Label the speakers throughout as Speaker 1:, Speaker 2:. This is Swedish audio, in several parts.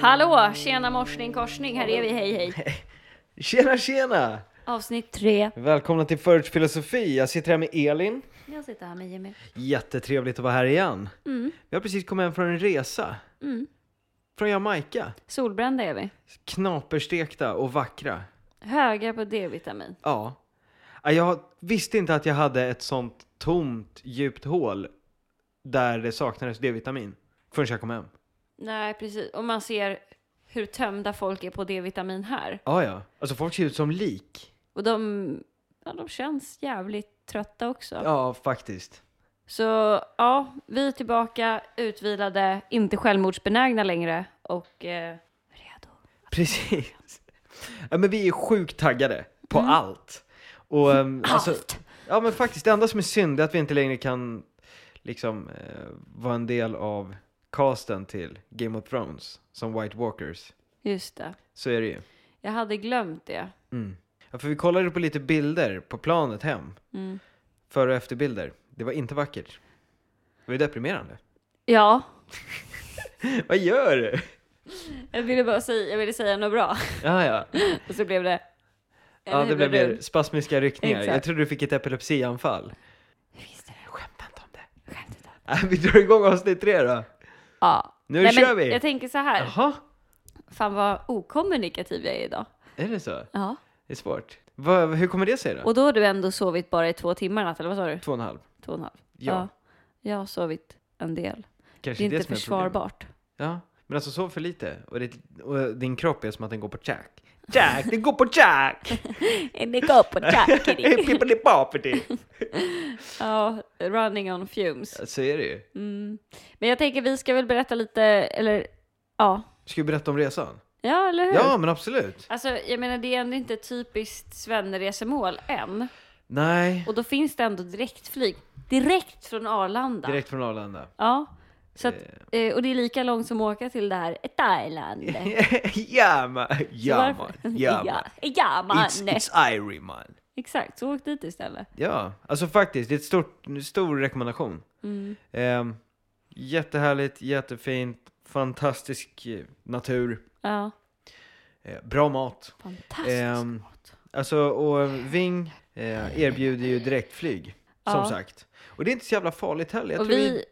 Speaker 1: Hallå! Tjena morsning korsning, här är vi, hej hej!
Speaker 2: Tjena tjena!
Speaker 1: Avsnitt tre.
Speaker 2: Välkomna till Förorts filosofi. Jag sitter här med Elin.
Speaker 1: Jag sitter här med Jimmy.
Speaker 2: Jättetrevligt att vara här igen.
Speaker 1: Mm,
Speaker 2: Vi har precis kommit hem från en resa.
Speaker 1: mm.
Speaker 2: Från Jamaica.
Speaker 1: Solbrända är vi.
Speaker 2: Knaperstekta och vackra.
Speaker 1: Höga på D-vitamin.
Speaker 2: Ja. Ja, Jag visste inte att jag hade ett sånt tomt, djupt hål där det saknades D-vitamin. Förrän jag kom hem.
Speaker 1: Nej, precis. Och man ser hur tömda folk är på D-vitamin här.
Speaker 2: Ja, ja. Alltså folk ser ut som lik.
Speaker 1: Och de, ja, de känns jävligt trötta också.
Speaker 2: Ja, faktiskt.
Speaker 1: Så ja, vi är tillbaka, utvilade, inte självmordsbenägna längre och eh, redo.
Speaker 2: Precis. Ja, men vi är sjukt taggade på allt. Och, ehm, alltså,
Speaker 1: Allt!
Speaker 2: Ja men faktiskt, det enda som är synd är att vi inte längre kan liksom eh, vara en del av casten till Game of Thrones som White Walkers.
Speaker 1: Just det.
Speaker 2: Så är det ju.
Speaker 1: Jag hade glömt det.
Speaker 2: Mm. Ja, för vi kollade på lite bilder på planet hem,
Speaker 1: Mm.
Speaker 2: före och efterbilder. Det var inte vackert. Det var ju deprimerande.
Speaker 1: Ja,
Speaker 2: Vad gör du?
Speaker 1: jag ville bara säga, jag ville säga något bra.
Speaker 2: Ja, ja.
Speaker 1: Och så blev det...
Speaker 2: ja det blev mer spasmiska ryckningar. Jag
Speaker 1: Exakt.
Speaker 2: trodde du fick ett epilepsianfall.
Speaker 1: Visste det.
Speaker 2: Skämta inte om det.
Speaker 1: Skämt inte.
Speaker 2: Äh, vi drar igång avsnitt tre då.
Speaker 1: Ja.
Speaker 2: Nu
Speaker 1: Nej, men
Speaker 2: kör vi!
Speaker 1: Jag tänker så här.
Speaker 2: Jaha,
Speaker 1: Fan vad okommunikativ jag är idag.
Speaker 2: är det så?
Speaker 1: Ja.
Speaker 2: Det är svårt. Va, hur kommer det sig då?
Speaker 1: Och då har du ändå sovit bara i två timmar i natt, eller vad sa du?
Speaker 2: Två och en halv.
Speaker 1: Två och en halv?
Speaker 2: Ja,
Speaker 1: Jag har sovit en del.
Speaker 2: kanske
Speaker 1: Det är inte
Speaker 2: som problemet.
Speaker 1: försvarbart.
Speaker 2: Ja, men alltså sov för lite och, det, och din kropp är som att den går på tjack. Tjack, den går på tjack!
Speaker 1: Det går på tjack.
Speaker 2: Pippelipoppity!
Speaker 1: Ja, running on fumes.
Speaker 2: Så är det ju.
Speaker 1: Mm. Men jag tänker vi ska väl berätta lite, eller ja.
Speaker 2: Ska vi berätta om resan?
Speaker 1: Ja, eller hur?
Speaker 2: Ja, men absolut.
Speaker 1: Alltså, jag menar det är ändå inte ett typiskt svenneresemål än.
Speaker 2: Nej,
Speaker 1: Och då finns det ändå direktflyg. Direkt från Arlanda.
Speaker 2: direkt från Arlanda.
Speaker 1: Ja. Så att,
Speaker 2: Eh.
Speaker 1: eh, och det är lika långt som att åka till det här Thailand. Så
Speaker 2: ja, man. Ja,
Speaker 1: varför-
Speaker 2: man. Ja, man.
Speaker 1: ja, man.
Speaker 2: It's, it's Irie, man.
Speaker 1: Exakt, så åk dit istället.
Speaker 2: Ja, alltså faktiskt, det är ett stort, en stor rekommendation.
Speaker 1: Mm.
Speaker 2: Ehm, jättehärligt, jättefint, fantastisk eh, natur,
Speaker 1: Ja,
Speaker 2: eh, bra mat.
Speaker 1: fantastiskt.
Speaker 2: Ehm, Alltså, och Ving eh, erbjuder ju direktflyg,
Speaker 1: Ja.
Speaker 2: som sagt. Och det är inte så jävla farligt heller. Jag
Speaker 1: och
Speaker 2: tror vi...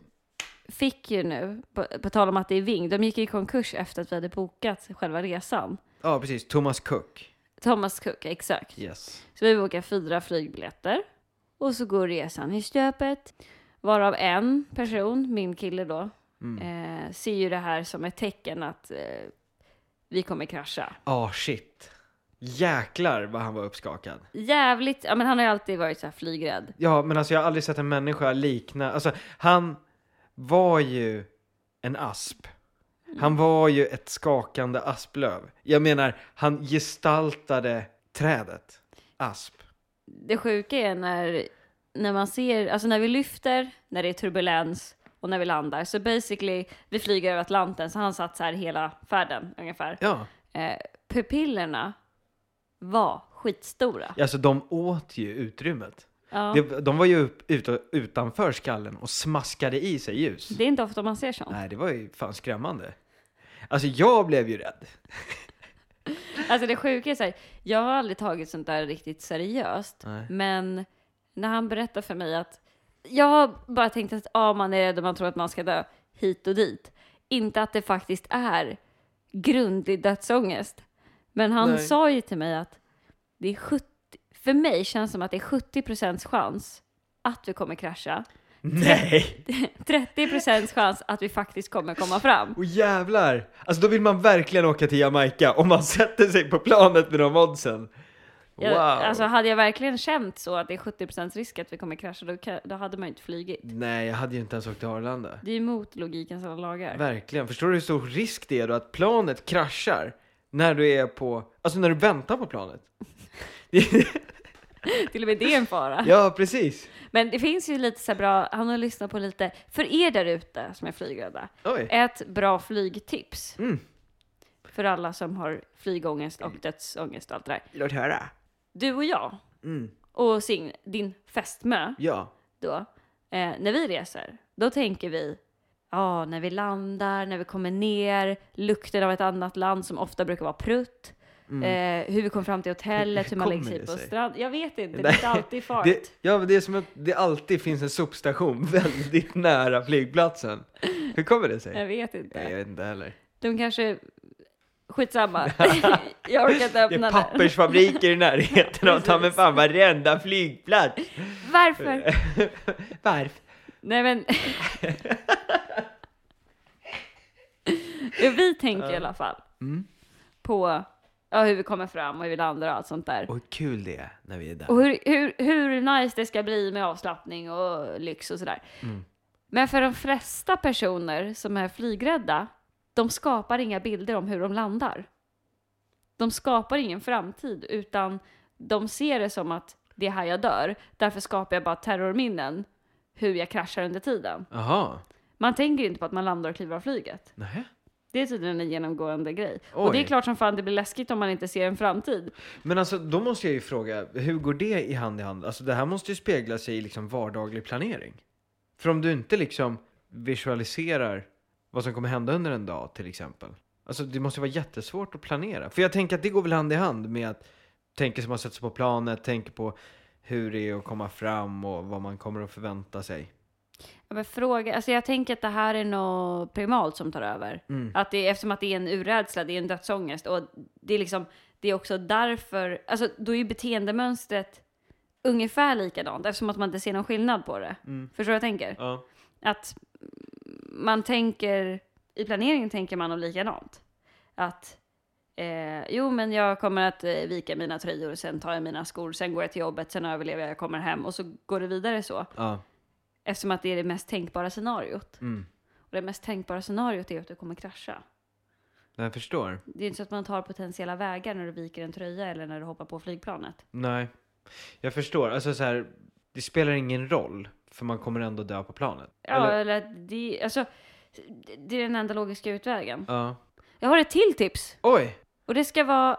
Speaker 1: vi fick ju nu, på, på tal om att det är Ving, de gick i konkurs efter att vi hade bokat själva resan.
Speaker 2: Ja, precis. Thomas Cook.
Speaker 1: Thomas Cook, exakt.
Speaker 2: Yes.
Speaker 1: Så vi bokar fyra flygbiljetter och så går resan i stöpet. Varav en person, min kille då,
Speaker 2: Mm.
Speaker 1: eh, ser ju det här som ett tecken att eh, vi kommer krascha.
Speaker 2: Ah, shit. Jäklar vad han var uppskakad.
Speaker 1: Jävligt, ja men han har ju alltid varit så här flygrädd.
Speaker 2: Ja, men alltså jag har aldrig sett en människa likna... Alltså, han var ju en asp. Han var ju ett skakande asplöv. Jag menar, han gestaltade trädet. Asp.
Speaker 1: Det sjuka är när, när man ser, alltså när vi lyfter, när det är turbulens och när vi landar. Så basically, vi flyger över Atlanten så han satt så här hela färden ungefär.
Speaker 2: Ja.
Speaker 1: Eh, pupillerna var skitstora.
Speaker 2: Alltså, de åt ju utrymmet.
Speaker 1: Ja.
Speaker 2: Det, de var ju upp, ut, utanför skallen och smaskade i sig ljus.
Speaker 1: Det är inte ofta man ser sånt.
Speaker 2: Nej, det var ju fan skrämmande. Alltså jag blev ju rädd.
Speaker 1: Alltså det sjuka är så här, jag har aldrig tagit sånt där riktigt seriöst.
Speaker 2: Nej.
Speaker 1: Men när han berättar för mig att jag har bara tänkt att ah, man är rädd och man tror att man ska dö hit och dit. Inte att det faktiskt är grundlig dödsångest. Men han
Speaker 2: Nej.
Speaker 1: sa ju till mig att det är 70, för mig känns det som att det är 70 chans att vi kommer krascha.
Speaker 2: Nej!
Speaker 1: 30 chans att vi faktiskt kommer komma fram.
Speaker 2: Och jävlar! Alltså då vill man verkligen åka till Jamaica om man sätter sig på planet med de oddsen. Wow!
Speaker 1: Jag, Alltså hade jag verkligen känt så att det är 70 risk att vi kommer krascha, då, ka- då hade man ju inte flugit.
Speaker 2: Nej, jag hade ju inte ens åkt till Arlanda.
Speaker 1: Det är emot logikens alla lagar.
Speaker 2: Verkligen. Förstår du hur stor risk det är då att planet kraschar när du är på, alltså när du väntar på planet?
Speaker 1: Till och med det är en fara.
Speaker 2: Ja, precis.
Speaker 1: Men det finns ju lite så här bra, han har lyssnat på lite, för er där ute som är flygrädda,
Speaker 2: Oj.
Speaker 1: ett bra flygtips
Speaker 2: Mm.
Speaker 1: för alla som har flygångest och dödsångest och allt det där.
Speaker 2: Låt höra.
Speaker 1: Du och jag
Speaker 2: Mm.
Speaker 1: och sin, din fästmö
Speaker 2: Ja.
Speaker 1: då, eh, när vi reser, då tänker vi ja, när vi landar, när vi kommer ner, lukten av ett annat land som ofta brukar vara prutt,
Speaker 2: Mm.
Speaker 1: eh, hur vi kom fram till hotellet, hur man
Speaker 2: Kommer
Speaker 1: lägger sig
Speaker 2: det
Speaker 1: på
Speaker 2: sig?
Speaker 1: strand. Jag vet inte, det är
Speaker 2: Nej,
Speaker 1: inte alltid fart.
Speaker 2: Det, ja, men det är som att det alltid finns en sopstation väldigt nära flygplatsen. Hur kommer det sig?
Speaker 1: Jag vet inte.
Speaker 2: Nej, jag vet inte heller.
Speaker 1: De kanske... Skitsamma. jag orkar inte
Speaker 2: Det är
Speaker 1: öppna det.
Speaker 2: pappersfabriker i närheten av ta mig fan varenda flygplats.
Speaker 1: Varför?
Speaker 2: Varför?
Speaker 1: Nej men... ja, vi tänker i alla fall
Speaker 2: Mm.
Speaker 1: på ja, hur vi kommer fram och hur vi landar och allt sånt där.
Speaker 2: Och hur kul det är när vi är där.
Speaker 1: Och hur, hur, hur nice det ska bli med avslappning och lyx och sådär.
Speaker 2: Mm.
Speaker 1: Men för de flesta personer som är flygrädda, de skapar inga bilder om hur de landar. De skapar ingen framtid, utan de ser det som att det är här jag dör. Därför skapar jag bara terrorminnen, hur jag kraschar under tiden.
Speaker 2: Jaha,
Speaker 1: Man tänker inte på att man landar och kliver av flyget.
Speaker 2: nej.
Speaker 1: Det är tydligen en genomgående grej.
Speaker 2: Oj.
Speaker 1: Och det är klart som fan det blir läskigt om man inte ser en framtid.
Speaker 2: Men alltså, då måste jag ju fråga, hur går det i hand i hand? Alltså det här måste ju spegla sig i liksom vardaglig planering. För om du inte liksom visualiserar vad som kommer hända under en dag till exempel. Alltså det måste ju vara jättesvårt att planera. För jag tänker att det går väl hand i hand med att tänka som man sätter sig på planet, tänka på hur det är att komma fram och vad man kommer att förvänta sig.
Speaker 1: Ja, Men fråga, alltså jag tänker att det här är något primalt som tar över.
Speaker 2: Mm.
Speaker 1: Att det, eftersom att det är en urrädsla, det är en dödsångest. Och det är, liksom, det är också därför, alltså då är ju beteendemönstret ungefär likadant eftersom att man inte ser någon skillnad på det.
Speaker 2: Mm.
Speaker 1: Förstår du vad jag tänker?
Speaker 2: Ja.
Speaker 1: att man tänker, i planeringen tänker man om likadant. Att eh, jo, men jag kommer att eh, vika mina tröjor, sen tar jag mina skor, sen går jag till jobbet, sen överlever jag, jag kommer hem och så går det vidare så.
Speaker 2: Ja.
Speaker 1: Eftersom att det är det mest tänkbara scenariot.
Speaker 2: Mm.
Speaker 1: Och det mest tänkbara scenariot är att du kommer krascha.
Speaker 2: Jag förstår.
Speaker 1: Det är ju inte så att man tar potentiella vägar när du viker en tröja eller när du hoppar på flygplanet.
Speaker 2: Nej, jag förstår. Alltså så här, det spelar ingen roll för man kommer ändå dö på planet.
Speaker 1: Ja, eller, att det, alltså, det- det är den enda logiska utvägen.
Speaker 2: Ja.
Speaker 1: Jag har ett till tips.
Speaker 2: Oj!
Speaker 1: Och det ska vara...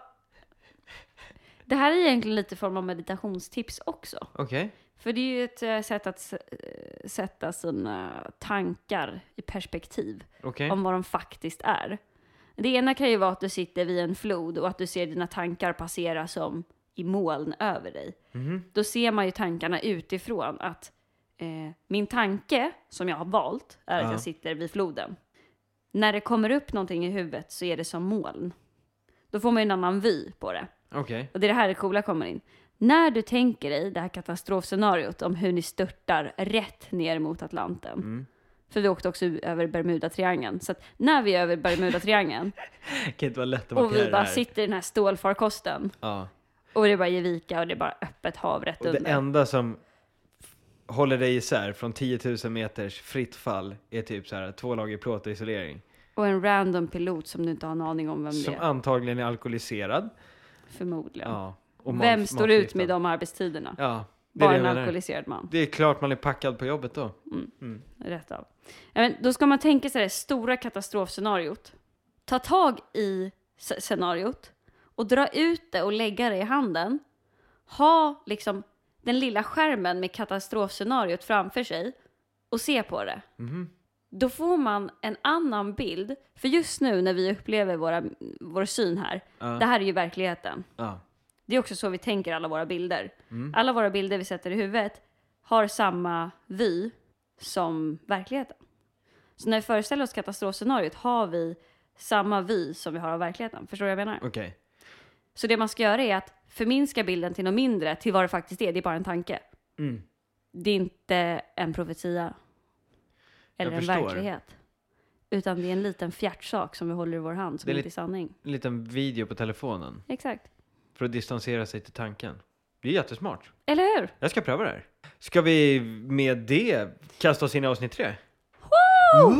Speaker 1: Det här är egentligen lite form av meditationstips också.
Speaker 2: Okej.
Speaker 1: För det är ju ett eh, sätt att s- eh, sätta sina tankar i perspektiv
Speaker 2: Okej.
Speaker 1: om vad de faktiskt är. Det ena kan ju vara att du sitter vid en flod och att du ser dina tankar passera som i moln över dig.
Speaker 2: Mhm.
Speaker 1: Då ser man ju tankarna utifrån att eh, min tanke som jag har valt är att
Speaker 2: Ja.
Speaker 1: jag sitter vid floden. När det kommer upp någonting i huvudet så är det som moln. Då får man ju en annan vy på det.
Speaker 2: Okej.
Speaker 1: Och det är det här det coola kommer in. När du tänker dig det här katastrofscenariot om hur ni störtar rätt ner mot Atlanten.
Speaker 2: Mm.
Speaker 1: För vi åkte också över Bermudatriangeln. Så att när vi är över Bermudatriangeln
Speaker 2: Det kan inte vara lätt att
Speaker 1: och
Speaker 2: markera
Speaker 1: vi
Speaker 2: det här.
Speaker 1: bara sitter i den här stålfarkosten
Speaker 2: Ja.
Speaker 1: och det bara ger vika och det är bara öppet hav rätt
Speaker 2: Och det
Speaker 1: under.
Speaker 2: enda som f- håller dig isär från 10 000 meters fritt fall är typ så här två lager plåt och isolering.
Speaker 1: Och en random pilot som du inte har en aning om vem
Speaker 2: Som
Speaker 1: det är.
Speaker 2: antagligen är alkoholiserad.
Speaker 1: Förmodligen.
Speaker 2: Ja. Och mat-
Speaker 1: vem står ut
Speaker 2: matförgiftad.
Speaker 1: med de arbetstiderna?
Speaker 2: Ja. Det är,
Speaker 1: bara
Speaker 2: det,
Speaker 1: en
Speaker 2: jag menar.
Speaker 1: alkoholiserad man.
Speaker 2: det är klart man är packad på jobbet då.
Speaker 1: Rätt av. Ja, men då ska man tänka sig det stora katastrofscenariot. Ta tag i s- scenariot och dra ut det och lägga det i handen. Ha liksom den lilla skärmen med katastrofscenariot framför sig och se på det.
Speaker 2: Mhm.
Speaker 1: Då får man en annan bild. För just nu när vi upplever våra, vår syn här,
Speaker 2: Ja.
Speaker 1: det här är ju verkligheten.
Speaker 2: Ja.
Speaker 1: Det är också så vi tänker alla våra bilder.
Speaker 2: Mm.
Speaker 1: Alla våra bilder vi sätter i huvudet har samma vi som verkligheten. Så när vi föreställer oss katastrofscenariot har vi samma vi som vi har av verkligheten. Förstår du vad jag menar?
Speaker 2: Okej.
Speaker 1: Så det man ska göra är att förminska bilden till något mindre, till vad det faktiskt är. Det är bara en tanke.
Speaker 2: Mm.
Speaker 1: Det är inte en profetia. Eller
Speaker 2: Jag
Speaker 1: en
Speaker 2: förstår.
Speaker 1: verklighet. Utan det är en liten fjärtsak som vi håller i vår hand som
Speaker 2: Det är
Speaker 1: inte är sanning.
Speaker 2: En liten video på telefonen.
Speaker 1: Exakt.
Speaker 2: För att distansera sig till tanken. Det är jättesmart.
Speaker 1: Eller hur?
Speaker 2: Jag ska pröva det här. Ska vi med det kasta oss in i avsnitt tre?
Speaker 1: Mm.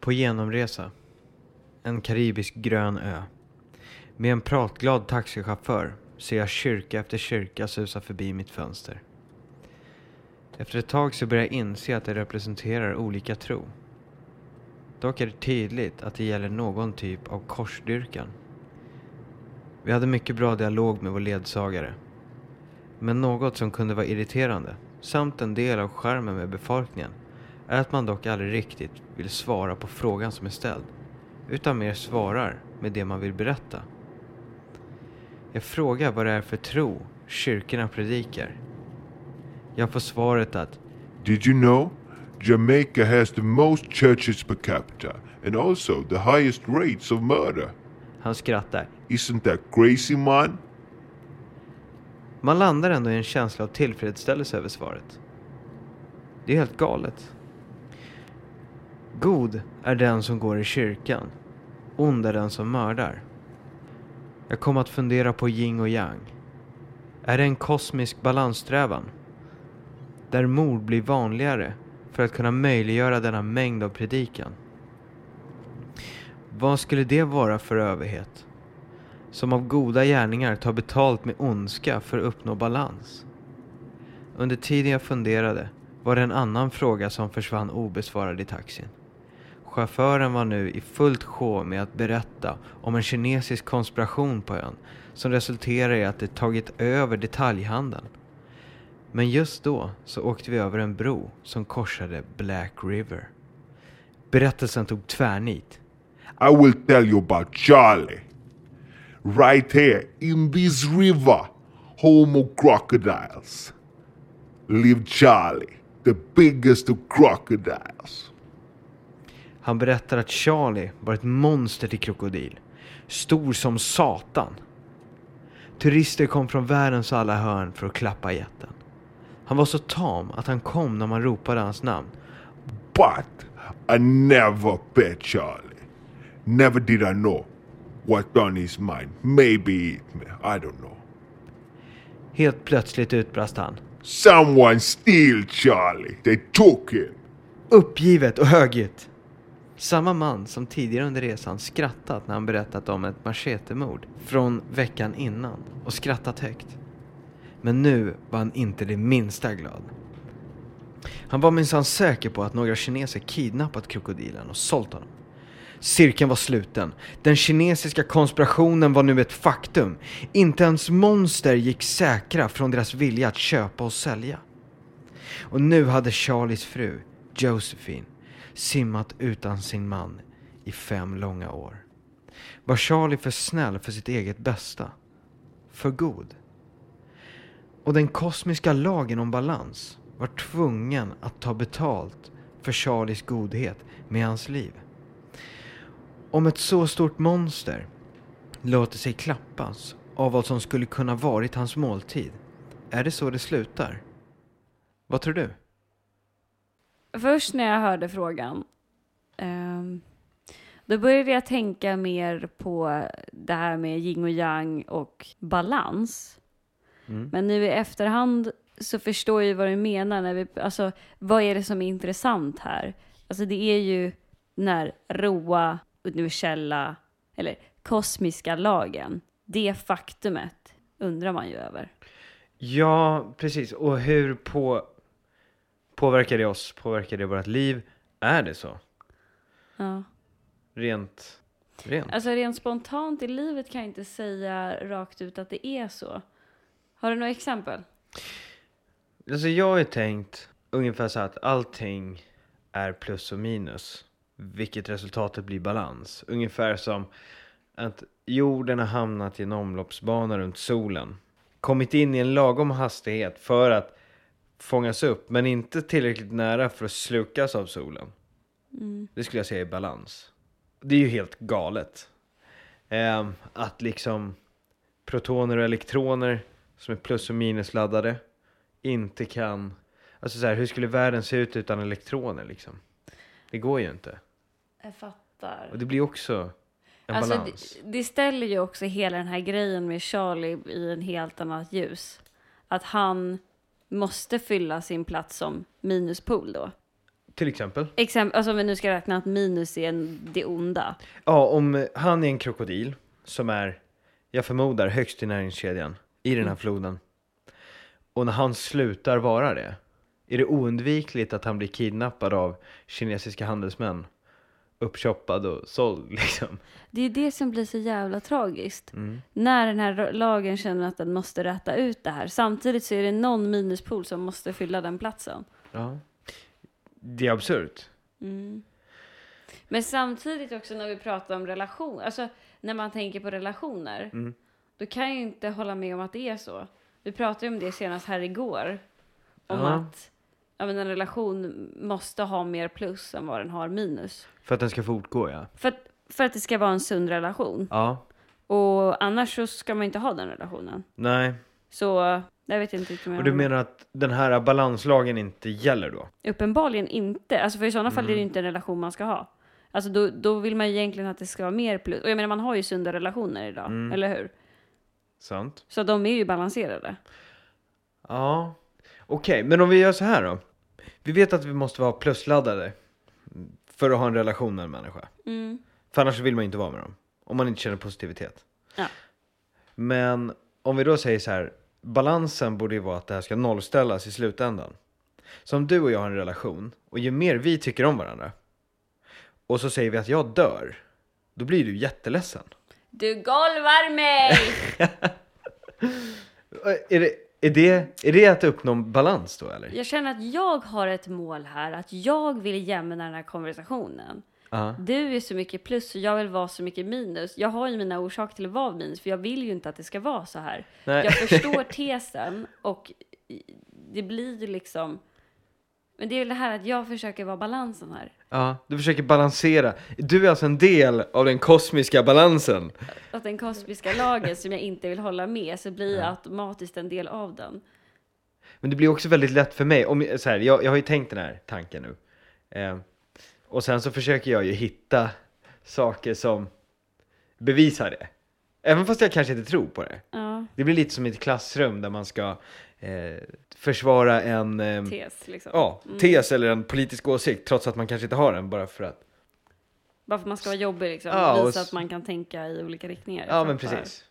Speaker 2: På genomresa. En karibisk grön ö. Med en pratglad taxichaufför ser jag kyrka efter kyrka susa förbi mitt fönster. Efter ett tag så börjar jag inse att det representerar olika tro. Dock är det tydligt att det gäller någon typ av korsdyrkan. Vi hade mycket bra dialog med vår ledsagare. Men något som kunde vara irriterande, samt en del av skärmen med befolkningen, är att man dock aldrig riktigt vill svara på frågan som är ställd, utan mer svarar med det man vill berätta. Jag frågar vad det är för tro kyrkorna predikar. Jag får svaret att
Speaker 3: Did you know? Jamaica has the most churches per capita and also the highest rates of murder.
Speaker 2: han skrattar.
Speaker 3: Isn't that crazy, man?
Speaker 2: Man landar ändå i en känsla av tillfredsställelse över svaret. Det är helt galet. God är den som går i kyrkan. Ond är den som mördar. Jag kom att fundera på yin och yang. Är det en kosmisk balanssträvan? Där mord blir vanligare för att kunna möjliggöra denna mängd av predikan. Vad skulle det vara för överhet? som av goda gärningar tar betalt med ondska för att uppnå balans. Under tiden jag funderade var det en annan fråga som försvann obesvarad i taxin. Chauffören var nu i fullt sjå med att berätta om en kinesisk konspiration på ön som resulterade i att det tagit över detaljhandeln. Men just då så åkte vi över en bro som korsade Black River. Berättelsen tog tvärnit.
Speaker 3: I will tell you about Charlie. Right here in this river, home of crocodiles, lived Charlie, the biggest of crocodiles.
Speaker 2: Han berättar att Charlie var ett monster till krokodil. Stor som satan. Turister kom från världens alla hörn för att klappa jätten. Han var så tam att han kom när man ropade hans namn.
Speaker 3: But I never pet Charlie. Never did I know what on his mind. Maybe it, I don't know.
Speaker 2: Helt plötsligt utbrast han.
Speaker 3: Someone steal Charlie. They took him.
Speaker 2: Uppgivet och högljutt. Samma man som tidigare under resan skrattat när han berättat om ett machetemord från veckan innan och skrattat högt. Men nu var han inte det minsta glad. Han var minsann säker på att några kineser kidnappat krokodilen och sålt honom. Cirkeln var sluten. Den kinesiska konspirationen var nu ett faktum. Inte ens monster gick säkra från deras vilja att köpa och sälja. Och nu hade Charlies fru, Josephine, simmat utan sin man i fem långa år. Var Charlie för snäll för sitt eget bästa? För god? Och den kosmiska lagen om balans var tvungen att ta betalt för Charlies godhet med hans liv. Om ett så stort monster låter sig klappas av vad som skulle kunna varit hans måltid, är det så det slutar? Vad tror du?
Speaker 1: Först när jag hörde frågan, ehm, då började jag tänka mer på det här med yin och yang och balans. Men nu i efterhand så förstår jag ju vad du menar. När vi, alltså, vad är det som är intressant här? Alltså det är ju den här roa, universella, eller kosmiska lagen. Det faktumet undrar man ju över.
Speaker 2: Ja, precis. Och hur på... påverkar det oss? Påverkar det vårt liv? Är det så?
Speaker 1: Ja.
Speaker 2: Rent... Rent?
Speaker 1: Alltså rent spontant i livet kan jag inte säga rakt ut att det är så. Har du några exempel?
Speaker 2: Alltså jag har ju tänkt ungefär så här att allting är plus och minus. Vilket resultatet blir balans. Ungefär som att jorden har hamnat i en omloppsbana runt solen. Kommit in i en lagom hastighet för att fångas upp men inte tillräckligt nära för att slukas av solen. Det skulle jag säga är balans. Det är ju helt galet. Ehm, att liksom protoner och elektroner som är plus och minus laddade inte kan... Alltså så här, hur skulle världen se ut utan elektroner liksom? Det går ju inte.
Speaker 1: Jag fattar.
Speaker 2: Och det blir också en
Speaker 1: alltså,
Speaker 2: balans.
Speaker 1: Det, det ställer ju också hela den här grejen med Charlie i en helt annat ljus. Att han måste fylla sin plats som minuspol då.
Speaker 2: Till exempel.
Speaker 1: Exempel, alltså om vi nu ska räkna att minus är en, det onda.
Speaker 2: Ja, om eh, han är en krokodil som är, jag förmodar, högst i näringskedjan. i
Speaker 1: Mm.
Speaker 2: den här floden. Och när han slutar vara det, är det oundvikligt att han blir kidnappad av kinesiska handelsmän? Uppköpad och såld liksom.
Speaker 1: Det är det som blir så jävla tragiskt.
Speaker 2: Mm.
Speaker 1: När den här lagen känner att den måste rätta ut det här. Samtidigt så är det någon minuspol som måste fylla den platsen.
Speaker 2: Ja. Det är absurt.
Speaker 1: Men samtidigt också när vi pratar om relation, alltså när man tänker på relationer,
Speaker 2: Mm.
Speaker 1: då kan jag ju inte hålla med om att det är så. Vi pratade ju om det senast här igår, om
Speaker 2: Ja.
Speaker 1: att ja, men en relation måste ha mer plus än vad den har minus.
Speaker 2: För att den ska fortgå ja.
Speaker 1: För att, för att det ska vara en sund relation.
Speaker 2: Ja.
Speaker 1: Och annars så ska man inte ha den relationen.
Speaker 2: Nej.
Speaker 1: Så jag vet inte riktigt om
Speaker 2: Och
Speaker 1: jag
Speaker 2: du menar att den här balanslagen inte gäller då?
Speaker 1: Uppenbarligen inte. Alltså för i sådana fall är det
Speaker 2: Mm.
Speaker 1: ju inte en relation man ska ha. Alltså då, då vill man ju egentligen att det ska vara mer plus. Och jag menar man har ju sunda relationer idag,
Speaker 2: Mm.
Speaker 1: eller hur?
Speaker 2: Sant.
Speaker 1: Så de är ju balanserade.
Speaker 2: Ja. Okej, men om vi gör så här då. Vi vet att vi måste vara plusladdade för att ha en relation med en människa.
Speaker 1: Mm.
Speaker 2: För annars vill man ju inte vara med dem. Om man inte känner positivitet.
Speaker 1: Ja.
Speaker 2: Men om vi då säger så här. Balansen borde ju vara att det här ska nollställas i slutändan. Så om du och jag har en relation och ju mer vi tycker om varandra och så säger vi att jag dör, då blir du jätteledsen.
Speaker 1: Du golvar mig!
Speaker 2: Ö, Är det, är det, är det att uppnå en balans då eller?
Speaker 1: jag känner att jag har ett mål här, att jag vill jämna den här konversationen.
Speaker 2: Ja.
Speaker 1: Du är så mycket plus och jag vill vara så mycket minus. Jag har ju mina orsaker till att vara minus, för jag vill ju inte att det ska vara så här.
Speaker 2: Nej.
Speaker 1: Jag förstår tesen och det blir ju liksom... Men det är väl det här att jag försöker vara balansen här.
Speaker 2: Ja, du försöker balansera. Du är alltså en del av den kosmiska balansen.
Speaker 1: Att den kosmiska lagen som jag inte vill hålla med så blir jag automatiskt en del av den.
Speaker 2: Men det blir också väldigt lätt för mig. Om, så här, jag, jag har ju tänkt den här tanken nu. Eh, och sen så försöker jag ju hitta saker som bevisar det. Även fast jag kanske inte tror på det.
Speaker 1: Ja,
Speaker 2: Det blir lite som i ett klassrum där man ska eh, försvara en eh,
Speaker 1: tes liksom.
Speaker 2: ja, tes eller en politisk åsikt trots att man kanske inte har den bara för att.
Speaker 1: Bara för att man ska vara jobbig liksom.
Speaker 2: Ja, och
Speaker 1: Visa
Speaker 2: s-
Speaker 1: att man kan tänka i olika riktningar.
Speaker 2: Ja, men
Speaker 1: Framför.
Speaker 2: precis.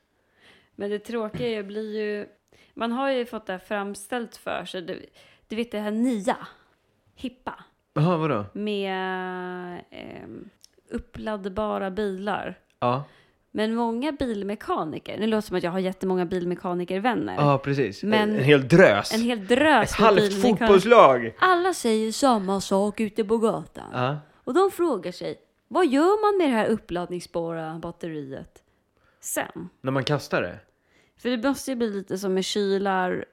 Speaker 1: Men det tråkiga är- blir ju... Man har ju fått det här framställt för sig. Du, du vet det här nya, hippa,
Speaker 2: Jaha, vadå?
Speaker 1: med ehm, uppladdbara bilar.
Speaker 2: Ja,
Speaker 1: Men många bilmekaniker, nu låter det som att jag har jättemånga bilmekanikervänner.
Speaker 2: ja precis.
Speaker 1: Men-
Speaker 2: en, en hel drös.
Speaker 1: En hel drös
Speaker 2: Ett
Speaker 1: med
Speaker 2: halvt
Speaker 1: bilmekaniker.
Speaker 2: fotbollslag!
Speaker 1: Alla säger samma sak ute på gatan.
Speaker 2: Ja.
Speaker 1: Och de frågar sig, vad gör man med det här uppladdningsbara batteriet sen?
Speaker 2: När man kastar det?
Speaker 1: För det måste ju bli lite som med kylar,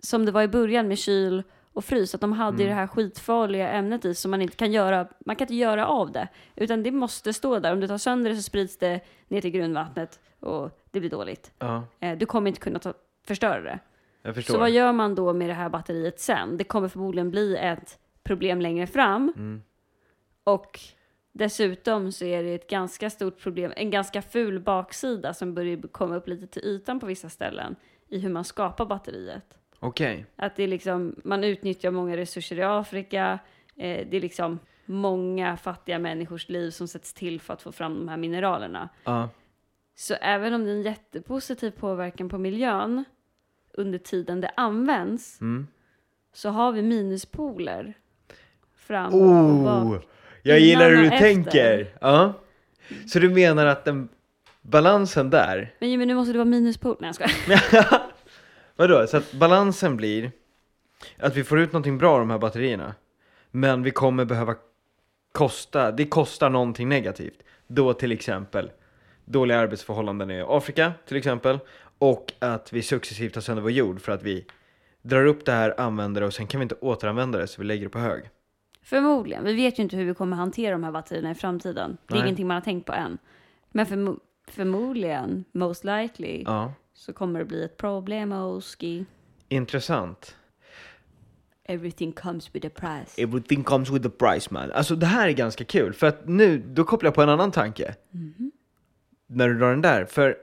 Speaker 1: som det var i början med kyl och frys, att de hade ju det här skitfarliga ämnet i som man inte kan göra, man kan inte göra av det, utan det måste stå där. Om du tar sönder det så sprids det ner till grundvattnet och det blir dåligt.
Speaker 2: Ja,
Speaker 1: Eh, Du kommer inte kunna ta, förstöra det.
Speaker 2: jag förstår.
Speaker 1: Så vad gör man då med det här batteriet sen? Det kommer förmodligen bli ett problem längre fram. Och dessutom så är det ett ganska stort problem, en ganska ful baksida som börjar komma upp lite till ytan på vissa ställen i hur man skapar batteriet.
Speaker 2: Okej.
Speaker 1: Att det är liksom, man utnyttjar många resurser i Afrika, eh, det är liksom många fattiga människors liv som sätts till för att få fram de här mineralerna.
Speaker 2: Ja.
Speaker 1: Så även om det är en jättepositiv påverkan på miljön under tiden det används
Speaker 2: Mm.
Speaker 1: så har vi minuspoler fram och
Speaker 2: Oh!
Speaker 1: bak.
Speaker 2: Jag
Speaker 1: Innan
Speaker 2: gillar hur du
Speaker 1: och efter.
Speaker 2: tänker. Ja. Så du menar att den balansen där,
Speaker 1: Men Jimmy, nu måste det vara minuspol. Nej, jag skojar.
Speaker 2: vadå? Så att balansen blir att vi får ut någonting bra av de här batterierna. Men vi kommer behöva kosta, det kostar någonting negativt. Då till exempel dåliga arbetsförhållanden i Afrika till exempel. Och att vi successivt tar sönder vår jord för att vi drar upp det här, använder det och sen kan vi inte återanvända det så vi lägger det på hög.
Speaker 1: Förmodligen. Vi vet ju inte hur vi kommer hantera de här batterierna i framtiden. Det är
Speaker 2: Nej.
Speaker 1: ingenting man har tänkt på än. Men förmo- förmodligen, most likely,
Speaker 2: Ja.
Speaker 1: så kommer det bli ett problem, Oski.
Speaker 2: Intressant.
Speaker 1: Everything comes with a price.
Speaker 2: Everything comes with a price man. Alltså det här är ganska kul för att nu, då kopplar jag på en annan tanke. När du drar den där. För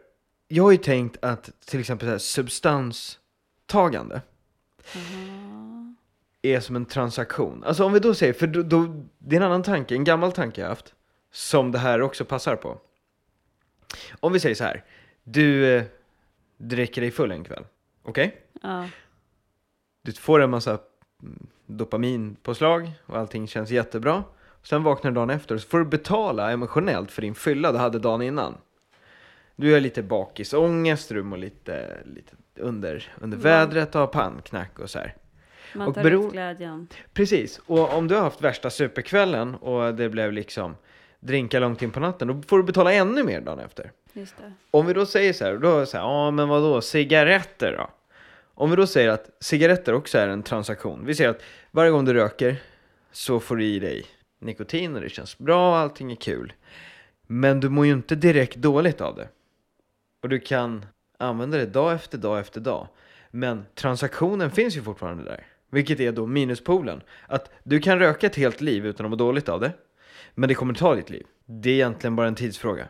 Speaker 2: jag har ju tänkt att till exempel så här, substanstagande är som en transaktion. Alltså om vi då säger, för då, då, det är en annan tanke, en gammal tanke jag haft. Som det här också passar på. Om vi säger så här, du, eh, dricker dig full en kväll. Okej?
Speaker 1: Ja.
Speaker 2: Du får en massa mm, dopaminpåslag och allting känns jättebra. Sen vaknar du dagen efter och så får du betala emotionellt för din fylla du hade dagen innan. Du är lite bakisångest, du mår lite, lite under, under vädret och har pannknack och så här.
Speaker 1: Man
Speaker 2: Och
Speaker 1: tar
Speaker 2: beror-
Speaker 1: ut glädjen.
Speaker 2: Precis, och om du har haft värsta superkvällen och det blev liksom drinka långt in på natten, då får du betala ännu mer dagen efter.
Speaker 1: Just det.
Speaker 2: Om vi då säger så här, då säger ja men vad då cigaretter då? Om vi då säger att cigaretter också är en transaktion. Vi säger att varje gång du röker så får du i dig nikotin och det känns bra och allting är kul. Men du mår ju inte direkt dåligt av det. Och du kan använda det dag efter dag efter dag. Men transaktionen finns ju fortfarande där. Vilket är då minuspolen. Att du kan röka ett helt liv utan att må dåligt av det. Men det kommer ta ditt liv. Det är egentligen bara en tidsfråga.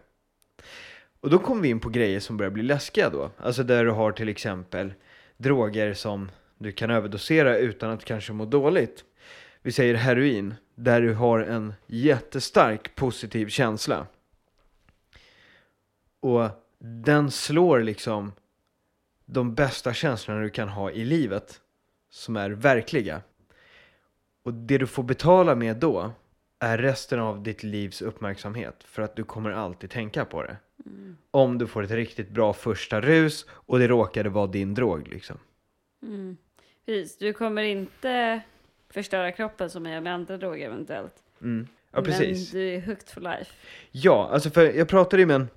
Speaker 2: Och då kommer vi in på grejer som börjar bli läskiga då. Alltså där du har till exempel droger som du kan överdosera utan att kanske må dåligt. Vi säger heroin, där du har en jättestark positiv känsla. Och den slår liksom de bästa känslorna du kan ha i livet, som är verkliga. Och det du får betala med då är resten av ditt livs uppmärksamhet, för att du kommer alltid tänka på det om du får ett riktigt bra första rus och det råkade vara din drog liksom.
Speaker 1: Mm. Precis. Du kommer inte förstöra kroppen som jag gör med andra droger eventuellt.
Speaker 2: Mm. Ja, precis.
Speaker 1: Men du är hooked for life.
Speaker 2: Ja, alltså för jag pratade ju med en,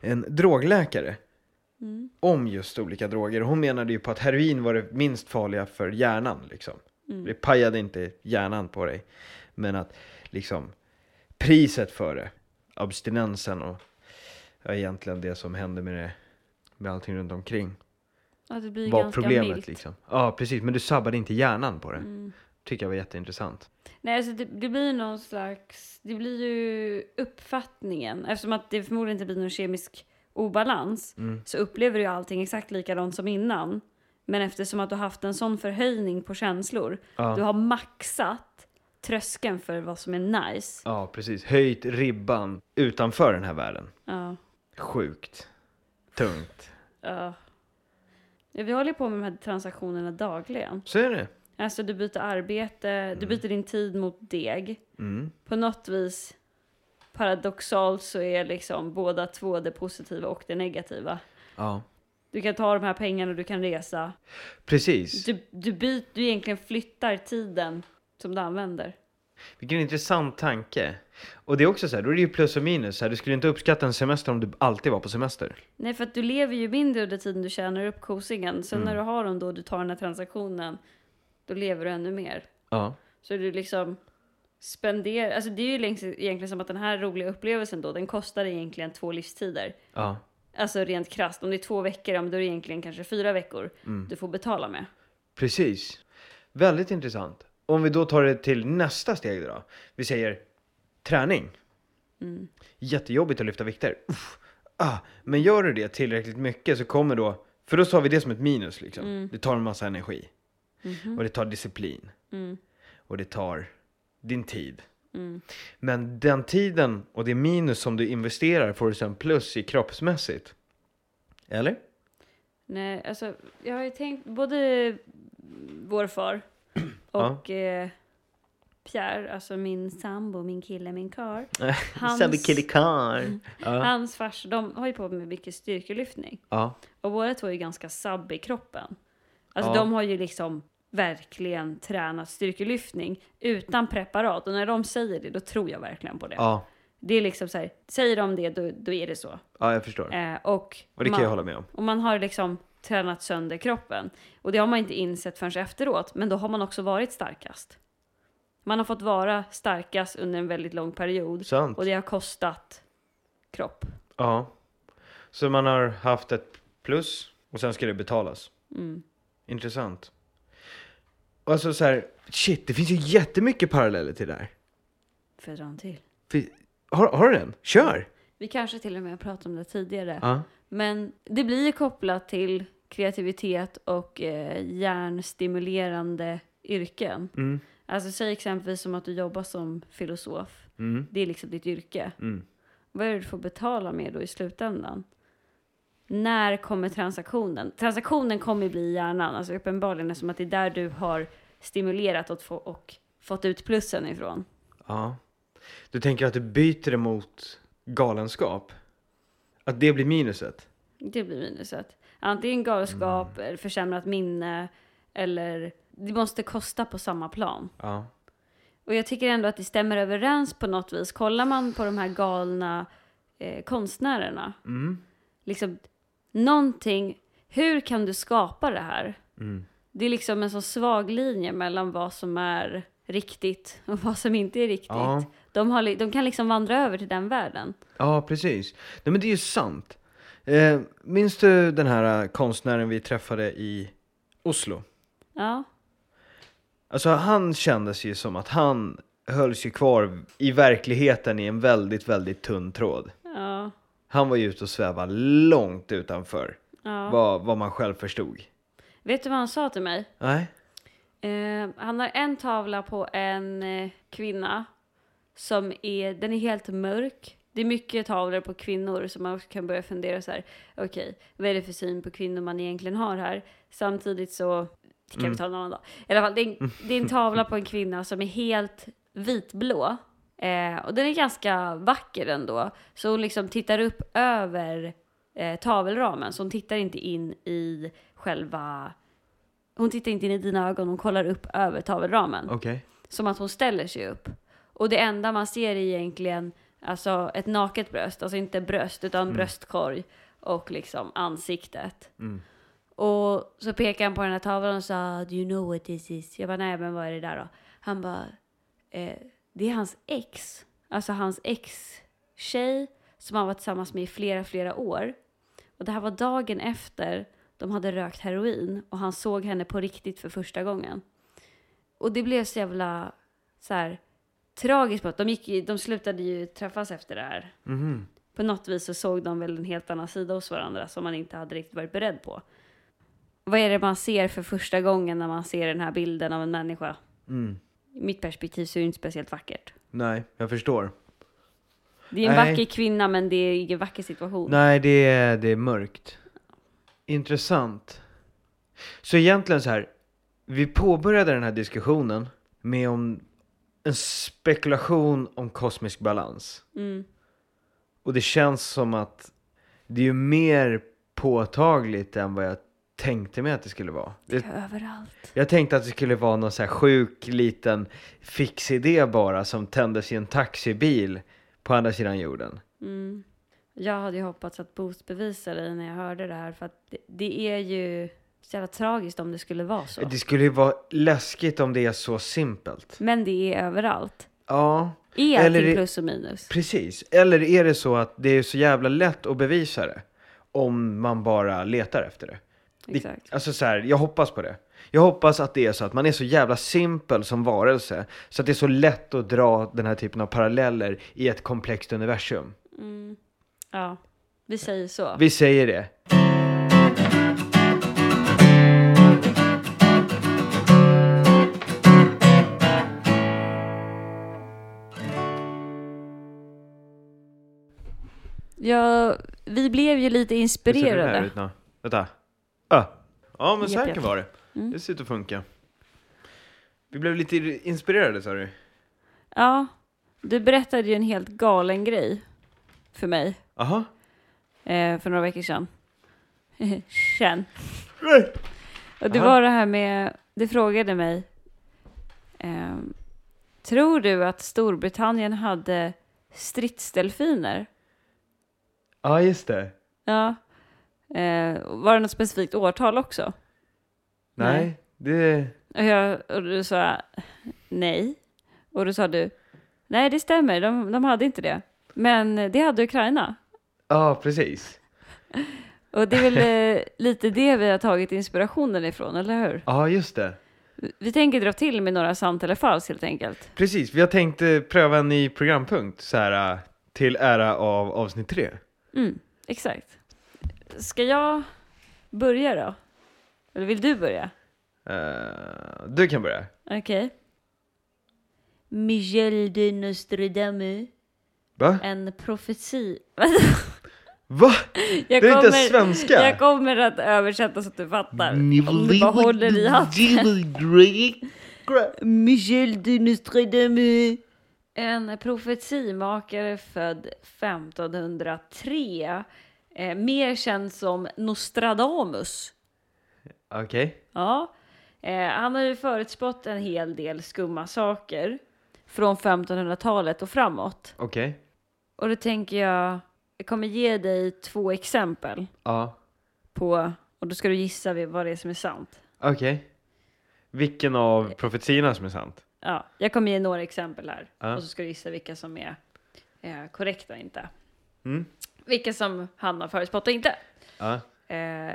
Speaker 2: en drogläkare
Speaker 1: Mm.
Speaker 2: om just olika droger. Hon menade ju på att heroin var det minst farliga för hjärnan liksom.
Speaker 1: Mm.
Speaker 2: Det pajade inte hjärnan på dig. Men att liksom priset för det, abstinensen och ja, egentligen det som hände med det, med allting runt omkring.
Speaker 1: Ja, det blir
Speaker 2: Var
Speaker 1: ganska
Speaker 2: problemet
Speaker 1: milt.
Speaker 2: liksom. Ja, precis. Men du sabbade inte hjärnan på det.
Speaker 1: Mm.
Speaker 2: Tycker jag var jätteintressant.
Speaker 1: Nej, alltså det, det blir någon slags... Det blir ju uppfattningen. Eftersom att det förmodligen inte blir någon kemisk obalans
Speaker 2: Mm.
Speaker 1: så upplever du ju allting exakt likadant som innan. Men eftersom att du har haft en sån förhöjning på känslor,
Speaker 2: Ja.
Speaker 1: du har maxat tröskeln för vad som är nice.
Speaker 2: Ja, precis. Höjt ribban utanför den här världen.
Speaker 1: Ja.
Speaker 2: Sjukt. Tungt.
Speaker 1: ja. Ja, vi håller på med de här transaktionerna dagligen.
Speaker 2: Så är det.
Speaker 1: Alltså du byter arbete, du byter din tid mot deg.
Speaker 2: Mm.
Speaker 1: på något vis paradoxalt så är liksom båda två det positiva och det negativa.
Speaker 2: Ja.
Speaker 1: Du kan ta de här pengarna och du kan resa.
Speaker 2: Precis.
Speaker 1: Du, du, byt, du egentligen flyttar tiden som du använder.
Speaker 2: Vilken intressant tanke. Och det är också så här, då är det ju plus och minus. Så här, du skulle inte uppskatta en semester om du alltid var på semester.
Speaker 1: Nej, för att du lever ju mindre under tiden du tjänar upp kosingen. Sen när du har dem då, du tar den här transaktionen, då lever du ännu mer.
Speaker 2: Ja.
Speaker 1: Så du liksom spenderar, alltså det är ju längs- egentligen som att den här roliga upplevelsen då, den kostar egentligen två livstider.
Speaker 2: Ja.
Speaker 1: Alltså rent krasst, om det är två veckor, ja, men då är det egentligen kanske fyra veckor du får betala med.
Speaker 2: Precis. Väldigt intressant. Om vi då tar det till nästa steg då. Vi säger träning. Jättejobbigt att lyfta vikter. Uff. Ah, men gör du det tillräckligt mycket så kommer då, för då tar vi det som ett minus liksom. Det tar en massa energi. Och det tar disciplin.
Speaker 1: Mm,
Speaker 2: Och det tar din tid. Men den tiden och det minus som du investerar får du sen plus i kroppsmässigt. Eller?
Speaker 1: Nej, alltså jag har ju tänkt både vår far och eh, Pierre, alltså min sambo, min kille, min kar. Hans-
Speaker 2: Sabikillikar. Ja.
Speaker 1: Hans farsa, de har ju på med mycket styrkelyftning.
Speaker 2: ja.
Speaker 1: Och båda två är ju ganska sabbiga i kroppen. Alltså
Speaker 2: Ja.
Speaker 1: de har ju liksom verkligen tränat styrkelyftning utan preparat. Och när de säger det, då tror jag verkligen på det.
Speaker 2: Ja.
Speaker 1: Det är liksom så här, säger de det, då, då är det så.
Speaker 2: Ja, jag förstår.
Speaker 1: Eh, och,
Speaker 2: Och det kan
Speaker 1: man-
Speaker 2: jag hålla med om.
Speaker 1: Och man har liksom tränat sönder kroppen. Och det har man inte insett förrän efteråt, men då har man också varit starkast. Man har fått vara starkast under en väldigt lång period.
Speaker 2: Sant.
Speaker 1: Och det har kostat kropp.
Speaker 2: Ja. Så man har haft ett plus och sen ska det betalas.
Speaker 1: Mm.
Speaker 2: Intressant. Och Alltså så här, shit, det finns ju jättemycket paralleller till det här.
Speaker 1: Får jag dra en till?
Speaker 2: Fin- Har, har du den? Kör!
Speaker 1: Vi kanske till och med har pratat om det tidigare.
Speaker 2: Ja.
Speaker 1: Men det blir ju kopplat till kreativitet och eh, hjärnstimulerande yrken.
Speaker 2: Mm.
Speaker 1: Alltså säg exempelvis som att du jobbar som filosof.
Speaker 2: Mm.
Speaker 1: Det är liksom ditt yrke.
Speaker 2: Mm.
Speaker 1: Vad är det du får betala med då i slutändan? När kommer transaktionen? Transaktionen kommer ju bli i hjärnan, alltså uppenbarligen eftersom att det är där du har stimulerat och, få, och fått ut plussen ifrån.
Speaker 2: Ja. Du tänker att du byter emot galenskap? Att det blir minuset?
Speaker 1: Det blir minuset. Antingen galenskap,
Speaker 2: Mm.
Speaker 1: eller försämrat minne eller det måste kosta på samma plan.
Speaker 2: Ja.
Speaker 1: Och jag tycker ändå att det stämmer överens på något vis. Kollar man på de här galna eh, konstnärerna,
Speaker 2: Mm.
Speaker 1: liksom någonting, hur kan du skapa det här?
Speaker 2: Mm.
Speaker 1: Det är liksom en så svag linje mellan vad som är riktigt och vad som inte är riktigt.
Speaker 2: Ja.
Speaker 1: De, har, li- de kan liksom vandra över till den världen.
Speaker 2: Ja, precis. Nej, men det är ju sant. Eh, minns du den här eh, konstnären vi träffade i Oslo?
Speaker 1: Ja,
Speaker 2: Alltså han kändes ju som att han hölls ju kvar i verkligheten i en väldigt, väldigt tunn tråd.
Speaker 1: ja,
Speaker 2: Han var ju ute och svävade långt utanför
Speaker 1: ja.
Speaker 2: vad, vad man själv förstod.
Speaker 1: Vet du vad han sa till mig?
Speaker 2: Nej?
Speaker 1: Eh, han har en tavla på en eh, kvinna som är, den är helt mörk. Det är mycket tavlor på kvinnor som man också kan börja fundera så här. Okej, vad är det för syn på kvinnor man egentligen har här? Samtidigt så, det kan vi ta en annan dag. I alla fall, det är, en, det är en tavla på en kvinna som är helt vitblå. Eh, och den är ganska vacker ändå. Så hon liksom tittar upp över eh, tavelramen. Så hon tittar inte in i själva hon tittar inte in i dina ögon, hon kollar upp över tavelramen.
Speaker 2: Okej.
Speaker 1: Som att hon ställer sig upp. Och det enda man ser är egentligen alltså ett naket bröst, alltså inte bröst utan bröstkorg och liksom ansiktet. Och så pekade han på den här tavlan och sa Do you know what this is? Jag bara nej men vad är det där då? Han bara eh, Det är hans ex. Alltså hans ex-tjej som han var tillsammans med i flera flera år. Och det här var dagen efter de hade rökt heroin och han såg henne på riktigt för första gången. Och det blev så jävla så här, tragiskt. på att De, gick, ju- de slutade ju träffas efter det här.
Speaker 2: Mhm.
Speaker 1: På något vis så såg de väl en helt annan sida hos varandra som man inte hade riktigt varit beredd på. Vad är det man ser för första gången när man ser den här bilden av en människa?
Speaker 2: Mm.
Speaker 1: I mitt perspektiv så är det inte speciellt vackert.
Speaker 2: Nej, jag förstår.
Speaker 1: Det är en
Speaker 2: Nej.
Speaker 1: vacker kvinna men det är ingen vacker situation.
Speaker 2: Nej, det är, det är mörkt. Intressant. Så egentligen så här, vi påbörjade den här diskussionen med om en spekulation om kosmisk balans.
Speaker 1: Mm.
Speaker 2: Och det känns som att det är ju mer påtagligt än vad jag tänkte mig att det skulle vara.
Speaker 1: Det
Speaker 2: Det,
Speaker 1: är överallt.
Speaker 2: jag tänkte att det skulle vara någon så här sjuk liten fixidé bara som tändes i en taxibil på andra sidan jorden.
Speaker 1: Mm. Jag hade ju hoppats att Booth bevisade det när jag hörde det här för att det, det är ju så jävla tragiskt om det skulle vara så.
Speaker 2: Det skulle ju vara läskigt om det är så simpelt.
Speaker 1: Men det är överallt.
Speaker 2: Ja,
Speaker 1: Är
Speaker 2: Eller
Speaker 1: allting
Speaker 2: det-
Speaker 1: plus och minus?
Speaker 2: precis. Eller är det så att det är så jävla lätt att bevisa det? Om man bara letar efter det. det-
Speaker 1: Exakt.
Speaker 2: Alltså så här, jag hoppas på det. Jag hoppas att det är så att man är så jävla simpel som varelse. Så att det är så lätt att dra den här typen av paralleller i ett komplext universum.
Speaker 1: Mm. Ja, vi säger så.
Speaker 2: Vi säger det.
Speaker 1: Ja, vi blev ju lite
Speaker 2: Hur ser den här
Speaker 1: inspirerade.
Speaker 2: ut nu? Vänta. Ö. Ja, men
Speaker 1: Japp,
Speaker 2: så här
Speaker 1: japp.
Speaker 2: kan vara det.
Speaker 1: Mm.
Speaker 2: Det ser ut att funka. Vi blev lite inspirerade sa du.
Speaker 1: Ja, du berättade ju en helt galen grej för mig
Speaker 2: Aha.
Speaker 1: eh, för några veckor sedan. Sen.
Speaker 2: Nej.
Speaker 1: Och det
Speaker 2: Aha.
Speaker 1: var det här med, du frågade mig, ehm, tror du att Storbritannien hade stridsdelfiner?
Speaker 2: Ja, just det.
Speaker 1: Ja. Eh, var det något specifikt årtal också?
Speaker 2: Nej,
Speaker 1: Nej.
Speaker 2: det...
Speaker 1: Och, jag, och du sa nej. Och då sa du, nej det stämmer, de, de hade inte det. Men det hade Ukraina.
Speaker 2: Ja, precis.
Speaker 1: Och det är väl eh, lite det vi har tagit inspirationen ifrån, eller hur?
Speaker 2: Ja, just det.
Speaker 1: Vi tänker dra till med några sant eller falskt helt enkelt.
Speaker 2: Precis, vi har tänkt eh, pröva en ny programpunkt så här eh, till ära av avsnitt tre.
Speaker 1: Mm, exakt. Ska jag börja då? Eller vill du börja?
Speaker 2: Eh, du kan börja.
Speaker 1: Okej. Michel de Nostradamus,
Speaker 2: Va?
Speaker 1: en profeti...
Speaker 2: Va?
Speaker 1: Jag
Speaker 2: Det är inte svenska.
Speaker 1: Jag kommer att översätta så att du fattar. Om du bara håller i hatten.
Speaker 2: Nibbelibbelibbelibbelibbelibbelibbelibbelibbelibbelibbelibbelibbelibbelibbelibbelibbelibbelibbelibbelibbelibbelibbelibbelibbelibbelibbelibbelibbelibbelibbelibbelibbelibbelibbelibbelibbelibbelibbelibbelibbelibbelibbelibbelibbelimakare
Speaker 1: En profetimakare född 1503. Eh, mer känd som Nostradamus.
Speaker 2: Okej.
Speaker 1: Ja. Eh, han har ju förutspått en hel del skumma saker från 1500-talet och framåt.
Speaker 2: Okej.
Speaker 1: Och då tänker jag, jag kommer ge dig två exempel
Speaker 2: Ja.
Speaker 1: på, och då ska du gissa vad det är som är sant.
Speaker 2: Okej. Vilken av profetiorna som är sant?
Speaker 1: Ja, jag kommer ge några exempel här
Speaker 2: Ja.
Speaker 1: och så ska du gissa vilka som är eh, korrekta och inte.
Speaker 2: Mm.
Speaker 1: Vilka som han har förutspått och inte.
Speaker 2: Ja.
Speaker 1: Eh,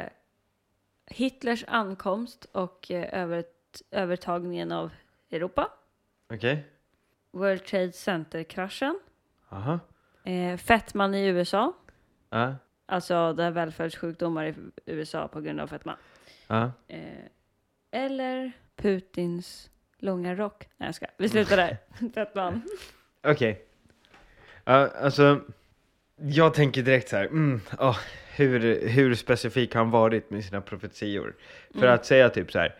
Speaker 1: Hitlers ankomst och eh, övert- övertagningen av Europa.
Speaker 2: Okej.
Speaker 1: World Trade Center-kraschen.
Speaker 2: Aha.
Speaker 1: Eh, fettman i USA.
Speaker 2: Ja.
Speaker 1: Alltså där välfärdssjukdomar i USA på grund av fetma.
Speaker 2: Ja.
Speaker 1: Eh, eller Putins långa rock. Nej jag ska. Vi slutar där. fettman.
Speaker 2: Okej. Ja, alltså, jag tänker direkt så här, mm, ah, hur, hur specifik har han varit med sina profetior? För
Speaker 1: Mm.
Speaker 2: att säga typ så här,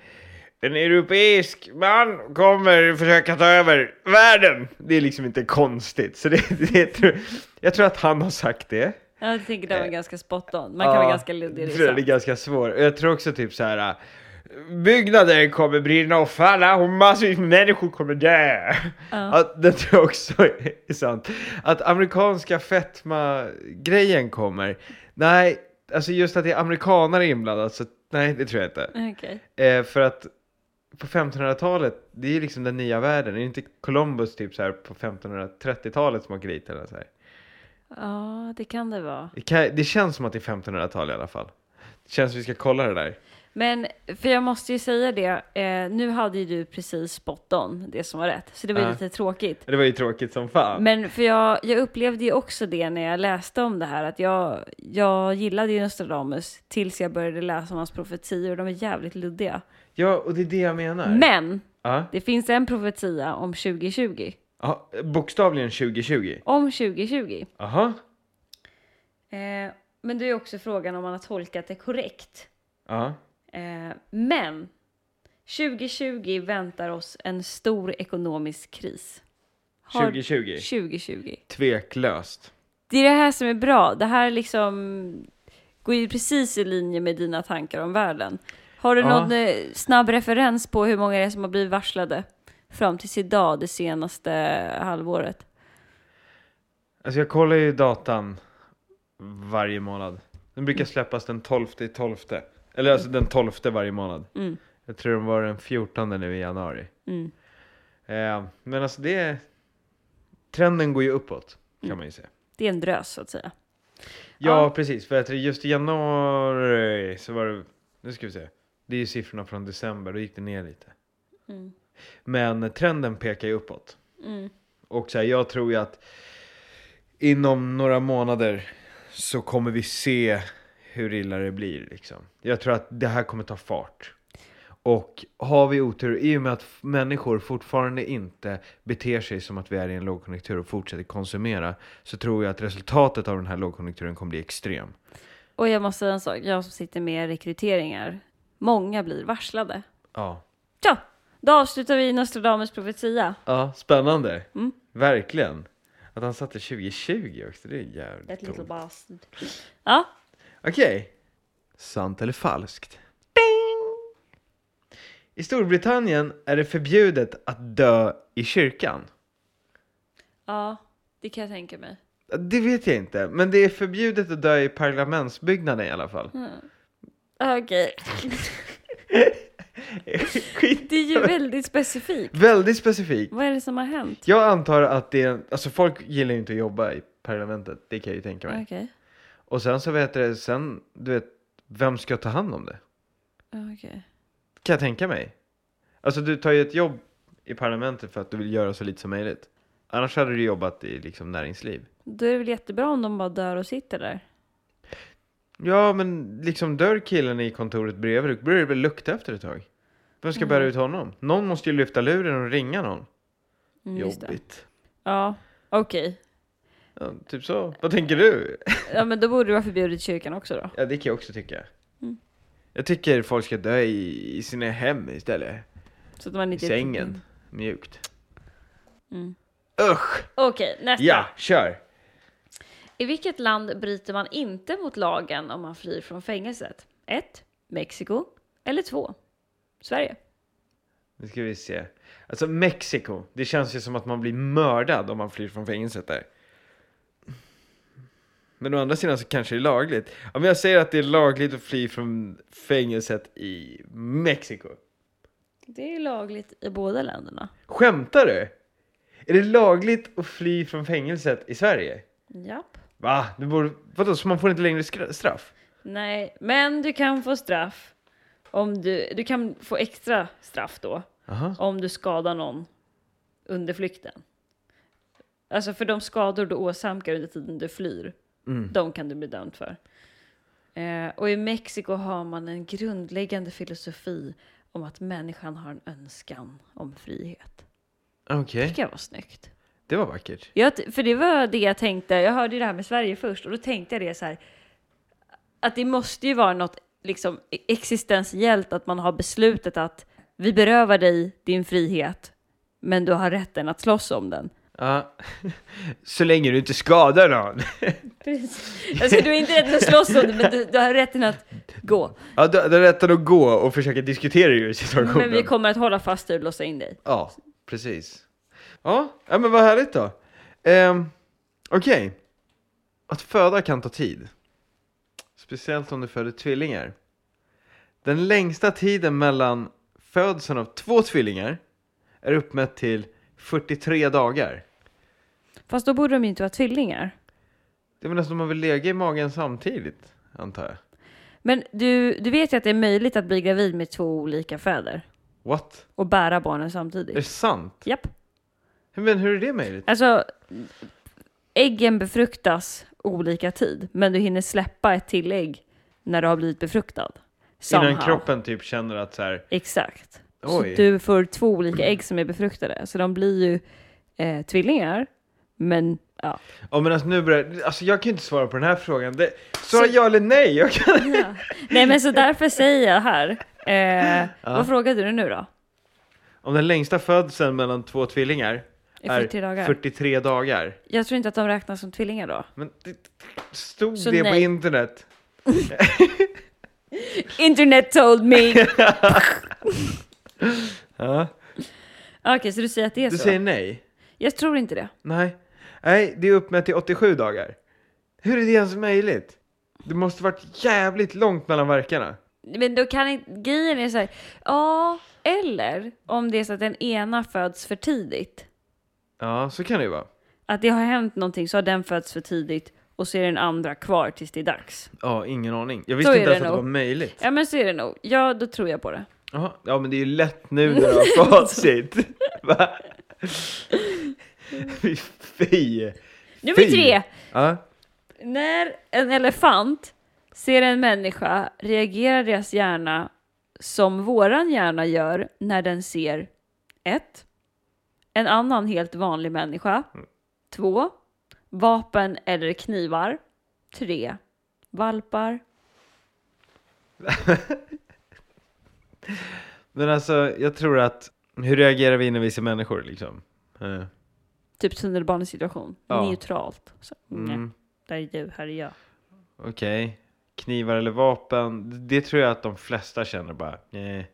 Speaker 2: en europeisk man kommer försöka ta över världen. Det är liksom inte konstigt. Så det, det tror, jag tror att han har sagt det.
Speaker 1: Jag tänker den var ganska spot on. Man kan vara ganska luddig i
Speaker 2: Eh,
Speaker 1: det.
Speaker 2: det. Det är
Speaker 1: sant.
Speaker 2: ganska svårt. Jag tror också typ så här. äh, Byggnader kommer brinna och falla och massvis med människor kommer dö.
Speaker 1: Ja.
Speaker 2: Att, det tror jag också är sant. Att amerikanska fetma-grejen kommer. Nej, alltså just att det är amerikanare inblandat så nej, det tror jag inte.
Speaker 1: Okej.
Speaker 2: Eh, för att på 1500-talet, det är ju liksom den nya världen. Det är ju inte Columbus typ så här på 1530-talet som åker dit eller så här.
Speaker 1: Ja, det kan det vara.
Speaker 2: Det, kan, det känns som att det är 1500-tal i alla fall. Det känns som vi ska kolla det där.
Speaker 1: Men för jag måste ju säga det, eh, nu hade ju du precis spot on det som var rätt, så det var ju
Speaker 2: Ja.
Speaker 1: lite tråkigt.
Speaker 2: Det var ju tråkigt som fan.
Speaker 1: Men för jag, jag upplevde ju också det när jag läste om det här, att jag, jag gillade ju Nostradamus tills jag började läsa om hans profetior, de är jävligt luddiga.
Speaker 2: Ja, och det är det jag menar.
Speaker 1: Men
Speaker 2: Ja,
Speaker 1: det finns en profetia om 2020.
Speaker 2: ja, bokstavligen 2020.
Speaker 1: Om 2020.
Speaker 2: Aha.
Speaker 1: Eh, men det är ju också frågan om man har tolkat det korrekt.
Speaker 2: Ja.
Speaker 1: Eh, men 2020 väntar oss en stor ekonomisk kris. Har-
Speaker 2: 2020.
Speaker 1: 2020.
Speaker 2: Tveklöst.
Speaker 1: Det är det här som är bra. Det här liksom går ju precis i linje med dina tankar om världen. Har du
Speaker 2: Ja.
Speaker 1: någon eh, snabb referens på hur många det är som har blivit varslade fram tills idag, det senaste halvåret?
Speaker 2: Alltså jag kollar ju datan varje månad. Den brukar släppas den 12 i 12. Eller alltså den 12 varje månad.
Speaker 1: Mm.
Speaker 2: Jag tror den var den 14 nu i januari.
Speaker 1: Mm.
Speaker 2: Eh, men alltså det... Trenden går ju uppåt, kan man ju säga.
Speaker 1: Det är en drös så att säga.
Speaker 2: Mm. Ja,
Speaker 1: Ja.
Speaker 2: precis. För att just i januari så var det... Nu ska vi se. Det är ju siffrorna från december, då gick det ner lite.
Speaker 1: Mm.
Speaker 2: Men trenden pekar ju uppåt.
Speaker 1: Mm.
Speaker 2: Och så här, jag tror ju att inom några månader så kommer vi se hur illa det blir. Liksom. Jag tror att det här kommer ta fart. Och har vi otur, i och med att f- människor fortfarande inte beter sig som att vi är i en lågkonjunktur och fortsätter konsumera, så tror jag att resultatet av den här lågkonjunkturen kommer bli extrem.
Speaker 1: Och jag måste säga en sak, jag som sitter med rekryteringar, många blir varslade.
Speaker 2: Ja.
Speaker 1: Ja, då avslutar vi Nostradamus profetia.
Speaker 2: Ja, spännande.
Speaker 1: Mm.
Speaker 2: Verkligen. Att han satte 2020 också, det är jävligt coolt.
Speaker 1: bastard. Ja,
Speaker 2: Okej. Sant eller falskt? Ding! I Storbritannien är det förbjudet att dö i kyrkan.
Speaker 1: ja, det kan jag tänka mig.
Speaker 2: Det vet jag inte, men det är förbjudet att dö i parlamentsbyggnaden i alla fall.
Speaker 1: Okej,
Speaker 2: Skit.
Speaker 1: det är ju väldigt specifikt.
Speaker 2: Väldigt specifikt.
Speaker 1: Vad är det som har hänt?
Speaker 2: Jag antar att det är, alltså folk gillar ju inte att jobba i parlamentet, det kan jag ju tänka mig.
Speaker 1: Okej, okej.
Speaker 2: Och sen så vet det, sen, du vet, vem ska ta hand om det? Kan jag tänka mig. Alltså du tar ju ett jobb i parlamentet för att du vill göra så lite som möjligt. Annars hade du jobbat i liksom näringsliv.
Speaker 1: Då är det väl jättebra om de bara dör och sitter där.
Speaker 2: Ja, men liksom dör killen i kontoret bredvid, då börjar det väl lukta efter ett tag. Vem ska bära ut honom? Någon måste ju lyfta luren och ringa någon.
Speaker 1: Mm, just det.
Speaker 2: Jobbigt.
Speaker 1: Ja, okej.
Speaker 2: Ja, typ så. Vad tänker du?
Speaker 1: Ja, men då borde det vara förbjudet i kyrkan också då.
Speaker 2: Ja, det kan jag också tycka.
Speaker 1: Mm.
Speaker 2: Jag tycker folk ska dö i, i sina hem istället.
Speaker 1: Så att man
Speaker 2: I
Speaker 1: inte
Speaker 2: sängen. Mjukt.
Speaker 1: typ Mm.
Speaker 2: Usch!
Speaker 1: Okej, nästa.
Speaker 2: Ja, kör!
Speaker 1: I vilket land bryter man inte mot lagen om man flyr från fängelset? 1. Mexiko. Eller 2. Sverige.
Speaker 2: Nu ska vi se. Alltså Mexiko, det känns ju som att man blir mördad om man flyr från fängelset där. Men å andra sidan så kanske det är lagligt. Om jag säger att det är lagligt att fly från fängelset i Mexiko.
Speaker 1: Det är lagligt i båda länderna.
Speaker 2: Skämtar du? Är det lagligt att fly från fängelset i Sverige?
Speaker 1: Japp.
Speaker 2: Va? Du borde, vadå, så man får inte längre skra- straff?
Speaker 1: Nej, men du kan få straff om du... Du kan få extra straff då
Speaker 2: Aha.
Speaker 1: om du skadar någon under flykten. Alltså för de skador du åsamkar under tiden du flyr, de kan du bli dömd för. Eh, och i Mexiko har man en grundläggande filosofi om att människan har en önskan om frihet.
Speaker 2: Okej,
Speaker 1: Det kan vara snyggt.
Speaker 2: det var vackert.
Speaker 1: Jag, t- för det var det jag tänkte. Jag hörde ju det här med Sverige först och då tänkte jag det så här. Att det måste ju vara något liksom existentiellt att man har beslutet att vi berövar dig din frihet, men du har rätten att slåss om den.
Speaker 2: Ja. Så länge du inte skadar någon.
Speaker 1: Precis. Alltså du har inte rätten att slåss om den, men du, du har rätten att gå.
Speaker 2: Ja, du, du har rätten att gå och försöka diskutera ju situationen.
Speaker 1: Men vi kommer att hålla fast dig och låsa in dig.
Speaker 2: Ja, precis. Ja, ja men vad härligt då. Ehm, Okej. Att föda kan ta tid. Speciellt om du föder tvillingar. Den längsta tiden mellan födseln av två tvillingar är uppmätt till 43 dagar.
Speaker 1: Fast då borde de ju inte vara tvillingar.
Speaker 2: Det menar att de har väl legat i magen samtidigt, antar jag.
Speaker 1: Men du, du vet ju att det är möjligt att bli gravid med två olika fäder
Speaker 2: What?
Speaker 1: och bära barnen
Speaker 2: Är det
Speaker 1: samtidigt.
Speaker 2: sant?
Speaker 1: Japp.
Speaker 2: Men hur är det möjligt?
Speaker 1: Alltså, äggen befruktas olika tid, men du hinner släppa ett tillägg när du har blivit befruktad. Somehow.
Speaker 2: Innan kroppen typ känner att så här,
Speaker 1: Exakt.
Speaker 2: Oj.
Speaker 1: Så du får två olika ägg som är befruktade, så de blir ju eh, tvillingar. Men ja.
Speaker 2: Ja men alltså nu börjar, alltså jag kan ju inte svara på den här frågan. Det, svara ja eller nej! Jag kan...
Speaker 1: Nej, men så därför säger jag här. Eh, Vad frågade du nu då?
Speaker 2: Om den längsta födseln mellan två tvillingar
Speaker 1: I
Speaker 2: är
Speaker 1: 43 dagar.
Speaker 2: 43 dagar.
Speaker 1: Jag tror inte att de räknas som tvillingar då.
Speaker 2: Men det, stod
Speaker 1: Så
Speaker 2: det på
Speaker 1: nej.
Speaker 2: internet?
Speaker 1: Internet told me!
Speaker 2: Ja.
Speaker 1: Okej, så du säger att det är
Speaker 2: Du
Speaker 1: så?
Speaker 2: säger nej?
Speaker 1: Jag tror inte det.
Speaker 2: Nej. Nej, det är uppmätt till 87 dagar. Hur är det ens möjligt? Det måste varit jävligt långt mellan verkarna.
Speaker 1: Men då kan inte, grejen är så här, ja, eller om det är så att den ena föds för tidigt,
Speaker 2: Ja, så kan det ju vara.
Speaker 1: att det har hänt någonting så har den fötts för tidigt och så är den andra kvar tills det är dags.
Speaker 2: Ja, ingen aning. Jag visste
Speaker 1: är
Speaker 2: inte
Speaker 1: det
Speaker 2: ens att det
Speaker 1: nog.
Speaker 2: var möjligt.
Speaker 1: Ja men så är det nog, ja då tror jag på det.
Speaker 2: Jaha. Ja, men det är ju lätt nu när du har facit. Va? Fy, Fy!
Speaker 1: Nummer
Speaker 2: Fy.
Speaker 1: tre!
Speaker 2: Ja.
Speaker 1: När en elefant ser en människa reagerar deras hjärna som våran hjärna gör när den ser ett, En annan helt vanlig människa.
Speaker 2: Mm.
Speaker 1: två, Vapen eller knivar. tre, Valpar.
Speaker 2: Men alltså, jag tror att hur reagerar vi när vi ser människor liksom? Eh,
Speaker 1: Typ tunnelbanesituation.
Speaker 2: Ja.
Speaker 1: Neutralt. Så, nej,
Speaker 2: Mm,
Speaker 1: där är du, här är jag.
Speaker 2: Okej. Knivar eller vapen? d- Det tror jag att de flesta känner bara, nej.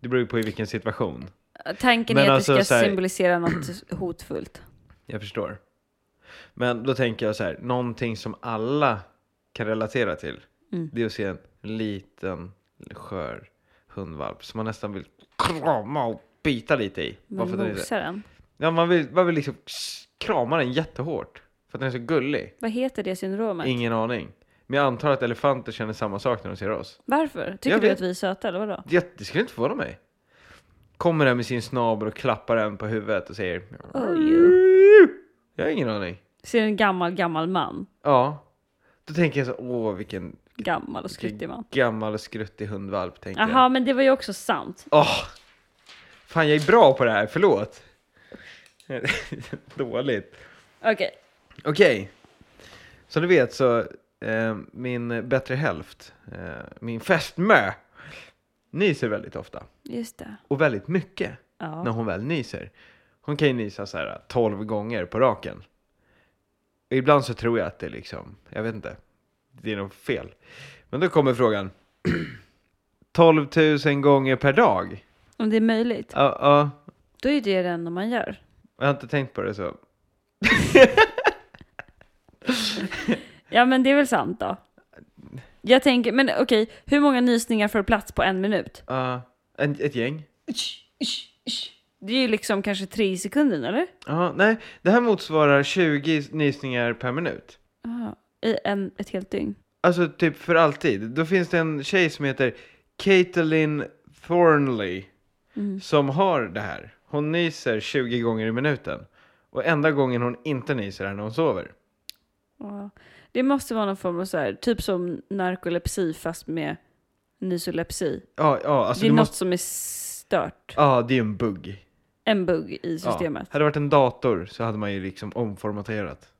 Speaker 2: Det beror ju på i vilken situation.
Speaker 1: Tanken
Speaker 2: Men
Speaker 1: är att
Speaker 2: alltså,
Speaker 1: det
Speaker 2: så
Speaker 1: ska
Speaker 2: här-
Speaker 1: symbolisera något hotfullt.
Speaker 2: Jag förstår. Men då tänker jag så här, någonting som alla kan relatera till.
Speaker 1: Mm.
Speaker 2: Det är att se en liten skör hundvalp som man nästan vill krama och bita lite i. Bara
Speaker 1: Men
Speaker 2: för att den är-
Speaker 1: mosar den?
Speaker 2: Ja, man vill, man vill liksom krama den jättehårt. För att den är så gullig.
Speaker 1: Vad heter det syndromet?
Speaker 2: Ingen aning. Men jag antar att elefanter känner samma sak när de ser oss.
Speaker 1: Varför? Tycker
Speaker 2: Jag
Speaker 1: du
Speaker 2: vet-
Speaker 1: att vi är söta eller vadå?
Speaker 2: Det, det skulle inte förvåna mig. Kommer där med sin snabel och klappar en på huvudet och säger
Speaker 1: Oh, you.
Speaker 2: Jag har ingen aning.
Speaker 1: Ser en gammal, gammal man.
Speaker 2: Ja. Då tänker jag så, åh vilken,
Speaker 1: Gammal och skruttig
Speaker 2: vilken
Speaker 1: man.
Speaker 2: gammal och skruttig hundvalp tänker
Speaker 1: Aha, men det var ju också sant.
Speaker 2: jag. Åh! Fan jag är bra på det här, förlåt. Dåligt.
Speaker 1: Okej,
Speaker 2: Okej. Som du vet så, eh, min bättre hälft, eh, min fästmö, nyser väldigt ofta.
Speaker 1: Just det.
Speaker 2: Och väldigt mycket när
Speaker 1: Ja.
Speaker 2: hon väl nyser. Hon kan ju nysa så här 12 gånger på raken. Ibland så tror jag att det är liksom, jag vet inte, det är något fel. Men då kommer frågan, 12 000 gånger per dag?
Speaker 1: Om det är möjligt.
Speaker 2: Ja, ja,
Speaker 1: Då är det det enda man gör.
Speaker 2: jag har inte tänkt på det så.
Speaker 1: Ja, men det är väl sant då. Jag tänker, men okej, hur många nysningar får plats på en minut?
Speaker 2: Ja, en, ett gäng?
Speaker 1: Det är ju liksom kanske tre sekunder, eller?
Speaker 2: Ja, nej, det här motsvarar 20 nysningar per minut.
Speaker 1: Ja, I en, ett helt dygn.
Speaker 2: Alltså typ för alltid. Då finns det en tjej som heter Caitlin Thornley
Speaker 1: Mm.
Speaker 2: som har det här. Hon nyser 20 gånger i minuten. Och enda gången hon inte nyser är när hon sover.
Speaker 1: Ja. Det måste vara någon form av så här, typ som narkolepsi fast med nysolepsi.
Speaker 2: Ja, ja, alltså
Speaker 1: det är
Speaker 2: du
Speaker 1: något
Speaker 2: måste...
Speaker 1: som är stört.
Speaker 2: Ja, det är ju en bugg.
Speaker 1: En bugg i
Speaker 2: Ja.
Speaker 1: systemet.
Speaker 2: Hade det varit en dator så hade man ju liksom omformaterat.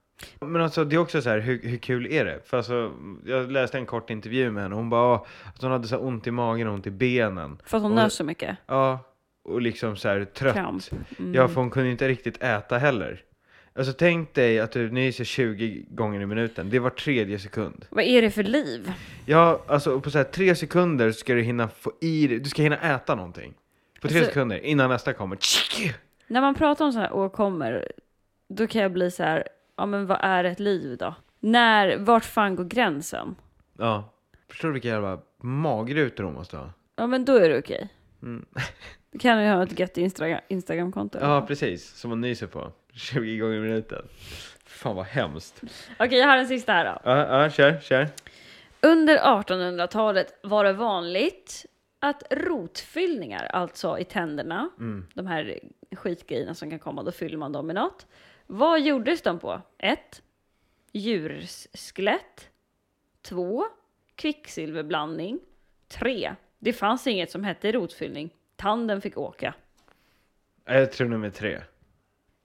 Speaker 2: Men alltså det är också så här, hur, hur kul är det? För alltså, jag läste en kort intervju med henne och hon bara "Ah, att hon hade så här ont i magen och ont i benen.
Speaker 1: För att hon
Speaker 2: Och-
Speaker 1: nös så mycket.
Speaker 2: Ja, och liksom så här trött.
Speaker 1: Kramp. Mm.
Speaker 2: Ja, för hon kunde ju inte riktigt äta heller. Alltså tänk dig att du nyser 20 gånger i minuten, det var tredje sekund.
Speaker 1: Vad är det för liv?
Speaker 2: Ja, alltså på så här tre sekunder ska du hinna få i dig, du ska hinna äta någonting. På tre
Speaker 1: Alltså-
Speaker 2: sekunder, innan nästa kommer. Tsk!
Speaker 1: När man pratar om sådana här åkommor, då kan jag bli så här, ja men vad är ett liv då? När, vart fan går gränsen?
Speaker 2: Ja. Förstår du vilka jävla magrutor hon måste ha?
Speaker 1: Ja men då är det okej.
Speaker 2: Mm.
Speaker 1: Då kan du ha ett gött Instagra- Instagramkonto.
Speaker 2: Ja, precis. Som hon nyser på. 20 gånger i minuten. Fan vad hemskt.
Speaker 1: Okej, jag har en sista här då.
Speaker 2: Ja, ja, kör, kör.
Speaker 1: Under 1800-talet var det vanligt att rotfyllningar, alltså i tänderna, de här skitgrejerna som kan komma, då fyller man dem med något. Vad gjordes de på? 1. Djursskelett. 2. Kvicksilverblandning. 3. Det fanns inget som hette rotfyllning. Tanden fick åka.
Speaker 2: Jag tror nummer tre.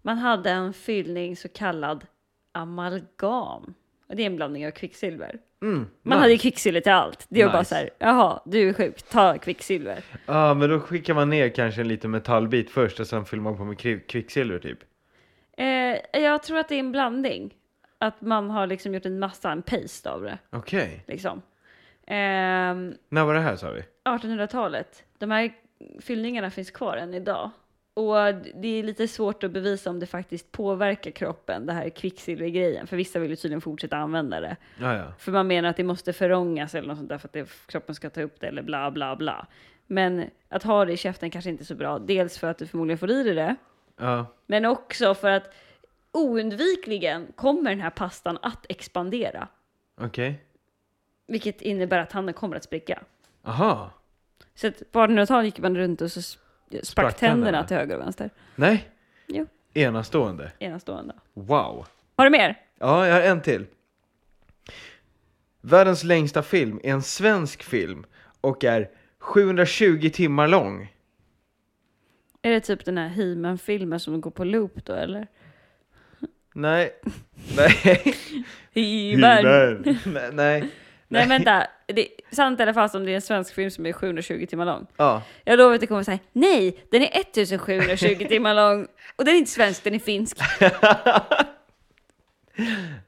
Speaker 1: Man hade en fyllning så kallad amalgam. Och det är en blandning av kvicksilver.
Speaker 2: Mm,
Speaker 1: Man hade ju kvicksilver till allt. Det är ju bara
Speaker 2: Nice.
Speaker 1: så här, jaha, du är sjuk, ta kvicksilver.
Speaker 2: Ja, men då skickar man ner kanske en liten metallbit först och sen fyller man på med kri- kvicksilver typ.
Speaker 1: Eh, jag tror att det är en blandning. Att man har liksom gjort en massa, en paste av det.
Speaker 2: Okej.
Speaker 1: Liksom. Ehm,
Speaker 2: När var det här sa vi?
Speaker 1: 1800-talet, de här fyllningarna finns kvar än idag. Och det är lite svårt att bevisa om det faktiskt påverkar kroppen, det här kvicksilvergrejen. För vissa vill ju tydligen fortsätta använda det.
Speaker 2: Ja, ja.
Speaker 1: För man menar att det måste förångas eller något sånt där för att det, kroppen ska ta upp det eller bla bla bla. Men att ha det i käften kanske inte är så bra. Dels för att du förmodligen får i dig det.
Speaker 2: Ja,
Speaker 1: Men också för att oundvikligen kommer den här pastan att expandera.
Speaker 2: okej.
Speaker 1: Vilket innebär att handen kommer att spricka.
Speaker 2: Aha.
Speaker 1: Så att på 1800-talet gick man runt och så s-
Speaker 2: Sprack
Speaker 1: sprack
Speaker 2: tänderna.
Speaker 1: tänderna till höger och vänster.
Speaker 2: Nej.
Speaker 1: Jo,
Speaker 2: Enastående.
Speaker 1: enastående.
Speaker 2: Wow.
Speaker 1: Har du mer?
Speaker 2: Ja, jag har en till. Världens längsta film är en svensk film och är 720 timmar lång.
Speaker 1: Är det typ den här He-Man-filmen som går på loop då eller?
Speaker 2: Nej. Nej.
Speaker 1: He-Man!
Speaker 2: Nej. Nej.
Speaker 1: Nej vänta, det är sant eller falskt om det är en svensk film som är 720 timmar lång?
Speaker 2: Ja.
Speaker 1: Jag lovar att det kommer säga nej, den är 1720 timmar lång och den är inte svensk, den är finsk.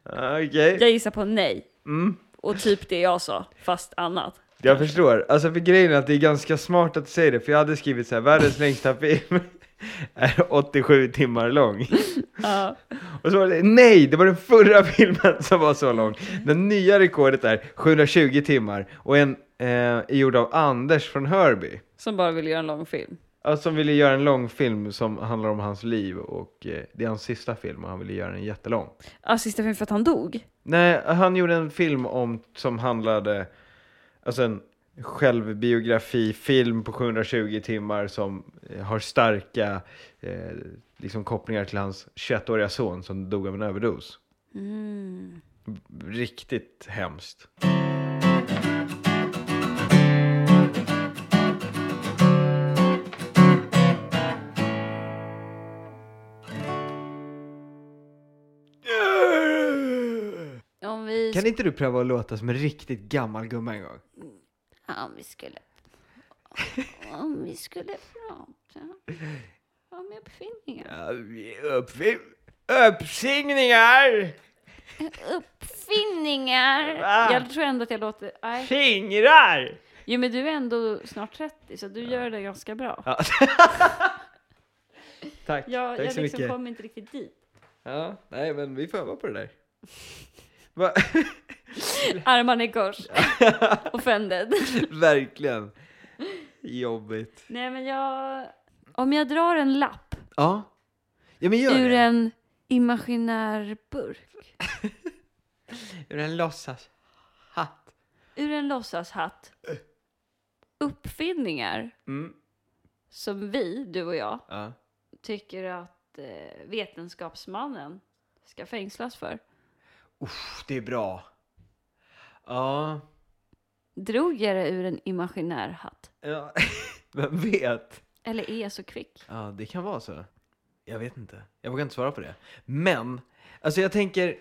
Speaker 2: Okej.
Speaker 1: Jag gissar på nej.
Speaker 2: Mm.
Speaker 1: Och typ det jag sa, fast annat.
Speaker 2: Jag förstår. Alltså för grejen är att det är ganska smart att du säger det, för jag hade skrivit så här, världens längsta film är 87 timmar lång.
Speaker 1: Ja.
Speaker 2: Och så var det, nej, det var den förra filmen som var så lång. Det nya rekordet är 720 timmar och en eh, är gjord av Anders från Hörby.
Speaker 1: Som bara vill göra en lång film.
Speaker 2: Ja, Som ville göra en lång film som handlar om hans liv och eh, det är hans sista film och han ville göra den jättelång.
Speaker 1: Ja, sista film för att han dog.
Speaker 2: Nej, han gjorde en film om, som handlade, alltså en självbiografifilm på 720 timmar som eh, har starka eh, liksom kopplingar till hans 21-åriga son som dog av en överdos. Riktigt hemskt.
Speaker 1: Om vi vi,
Speaker 2: Kan inte du pröva att låta som en riktigt gammal gumma en gång?
Speaker 1: om vi skulle... Om vi skulle prata om uppfinningar.
Speaker 2: Uppsingningar!
Speaker 1: Uppfinningar!
Speaker 2: Va?
Speaker 1: Jag tror ändå att jag låter... Nej.
Speaker 2: Fingrar!
Speaker 1: Jo, men du är ändå snart 30, så du gör det ganska bra.
Speaker 2: Tack,
Speaker 1: Jag,
Speaker 2: tack
Speaker 1: jag
Speaker 2: så
Speaker 1: liksom
Speaker 2: mycket.
Speaker 1: kommer inte riktigt dit.
Speaker 2: Ja, nej men vi får öva på det där. Va?
Speaker 1: Armarna i kors. Offended.
Speaker 2: Verkligen. Jobbigt.
Speaker 1: Nej, men jag... Om jag drar en lapp
Speaker 2: Ja. Ja men gör
Speaker 1: ur
Speaker 2: det.
Speaker 1: en imaginär burk,
Speaker 2: Ur en låtsas. Hatt.
Speaker 1: ur en låtsashatt, uppfinningar
Speaker 2: Mm.
Speaker 1: som vi, du och jag,
Speaker 2: Ja.
Speaker 1: tycker att eh, vetenskapsmannen ska fängslas för.
Speaker 2: Uff, det är bra. Ja.
Speaker 1: Drog jag det ur en imaginär hatt?
Speaker 2: ja. Vem vet?
Speaker 1: Eller är jag så kvick?
Speaker 2: Ja, det kan vara så. Jag vet inte. Jag vågar inte svara på det. Men, alltså jag tänker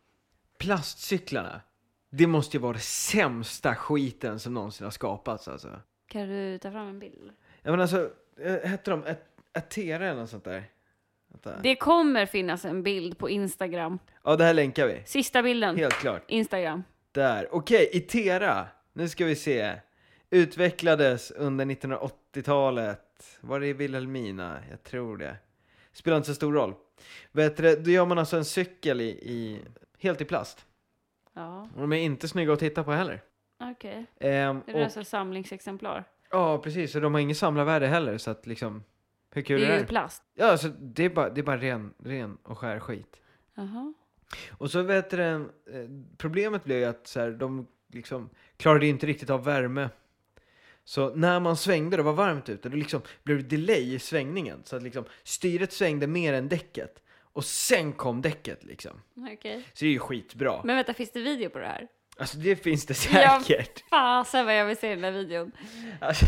Speaker 2: plastcyklarna. Det måste ju vara det sämsta skiten som någonsin har skapats alltså.
Speaker 1: Kan du ta fram en bild?
Speaker 2: Ja men alltså, eh, hette de At- Atera eller något sånt där? Vänta.
Speaker 1: Det kommer finnas en bild på Instagram.
Speaker 2: Ja, det här länkar vi.
Speaker 1: Sista bilden.
Speaker 2: Helt klart.
Speaker 1: Instagram.
Speaker 2: Där. Okej, Itera. Nu ska vi se. Utvecklades under 1980-talet. Var det i Vilhelmina? Jag tror det. Spelar inte så stor roll. Vet du, då gör man alltså en cykel i, i helt i plast.
Speaker 1: Ja,
Speaker 2: Och de är inte snygga att titta på heller.
Speaker 1: okej.
Speaker 2: Ehm,
Speaker 1: Det
Speaker 2: och,
Speaker 1: är alltså samlingsexemplar.
Speaker 2: ja, precis. Och de har ingen samlarvärde heller, så att liksom... Hur kul
Speaker 1: Det
Speaker 2: är
Speaker 1: är ju
Speaker 2: det?
Speaker 1: plast.
Speaker 2: Ja, alltså, det är bara, det är bara ren, ren och skär skit.
Speaker 1: Jaha.
Speaker 2: Och så vet du, eh, problemet blev ju att så här, de liksom klarade inte riktigt av värme. Så när man svängde och det var varmt ute, då liksom blev det delay i svängningen. Så att liksom styret svängde mer än däcket. Och sen kom däcket liksom.
Speaker 1: Okej.
Speaker 2: Så det är ju skitbra.
Speaker 1: Men vänta, finns det video på det här?
Speaker 2: Alltså det finns det
Speaker 1: Ja.
Speaker 2: säkert.
Speaker 1: Fasen vad jag vill se den där videon.
Speaker 2: Alltså,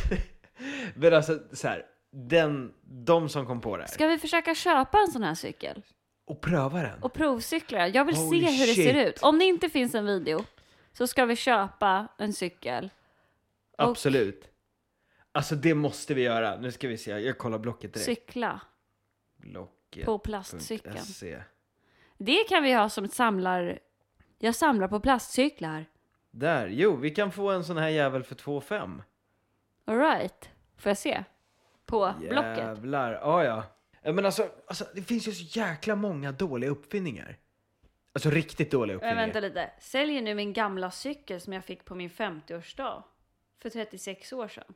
Speaker 2: men alltså så här, den, de som kom på det här.
Speaker 1: Ska vi försöka köpa en sån här cykel?
Speaker 2: Och pröva den.
Speaker 1: Och provcykla. Jag vill
Speaker 2: Holy
Speaker 1: se hur
Speaker 2: shit.
Speaker 1: det ser ut. Om det inte finns en video så ska vi köpa en cykel. och-
Speaker 2: Absolut. Alltså det måste vi göra. Nu ska vi se, jag kollar blocket direkt.
Speaker 1: Cykla
Speaker 2: blocket. E.
Speaker 1: på plastcykeln.
Speaker 2: .se.
Speaker 1: Det kan vi ha som ett samlar... Jag samlar på plastcyklar.
Speaker 2: Där, jo, vi kan få en sån här jävel för 2,5.
Speaker 1: Alright. Får jag se? På blocket.
Speaker 2: Jävlar, ja ja. Ja, Men alltså, alltså, det finns ju så jäkla många dåliga uppfinningar. Alltså riktigt
Speaker 1: Men
Speaker 2: dåliga uppfinningar.
Speaker 1: vänta lite. Säljer nu min gamla cykel som jag fick på min 50-årsdag. För 36 år sedan.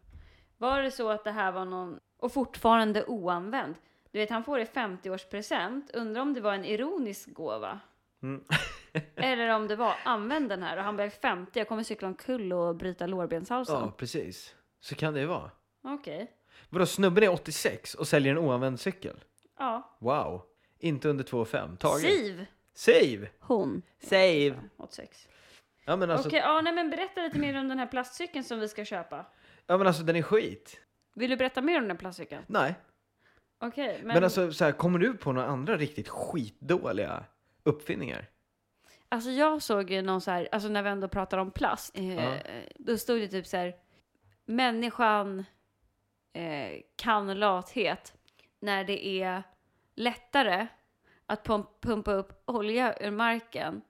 Speaker 1: Var det så att det här var någon... Och fortfarande oanvänd. Du vet, han får det i 50-årspresent. Undrar om det var en ironisk gåva.
Speaker 2: Mm.
Speaker 1: Eller om det var använd den här. Och han bara 50, jag kommer cykla omkull och bryta
Speaker 2: ja,
Speaker 1: lårbenshalsen.
Speaker 2: precis. Så kan det ju vara.
Speaker 1: Okej.
Speaker 2: Vadå, snubben är 86 och säljer en oanvänd cykel?
Speaker 1: Ja.
Speaker 2: Wow. Inte under 2,5. Taget.
Speaker 1: Siv!
Speaker 2: Save!
Speaker 1: Hon.
Speaker 2: Save!
Speaker 1: 86.
Speaker 2: Ja men, alltså,
Speaker 1: Okej, ja, nej, men berätta lite mer om den här plastcykeln som vi ska köpa.
Speaker 2: ja men alltså den är skit.
Speaker 1: Vill du berätta mer om den här plastcykeln?
Speaker 2: Nej.
Speaker 1: Okej, men,
Speaker 2: Men, alltså så här, kommer du på några andra riktigt skitdåliga uppfinningar?
Speaker 1: alltså jag såg ju någon så här, alltså när vi ändå pratar om plast, eh,
Speaker 2: Ja.
Speaker 1: då stod det typ så här, människan eh, kan lathet när det är lättare att pump, pumpa upp olja ur marken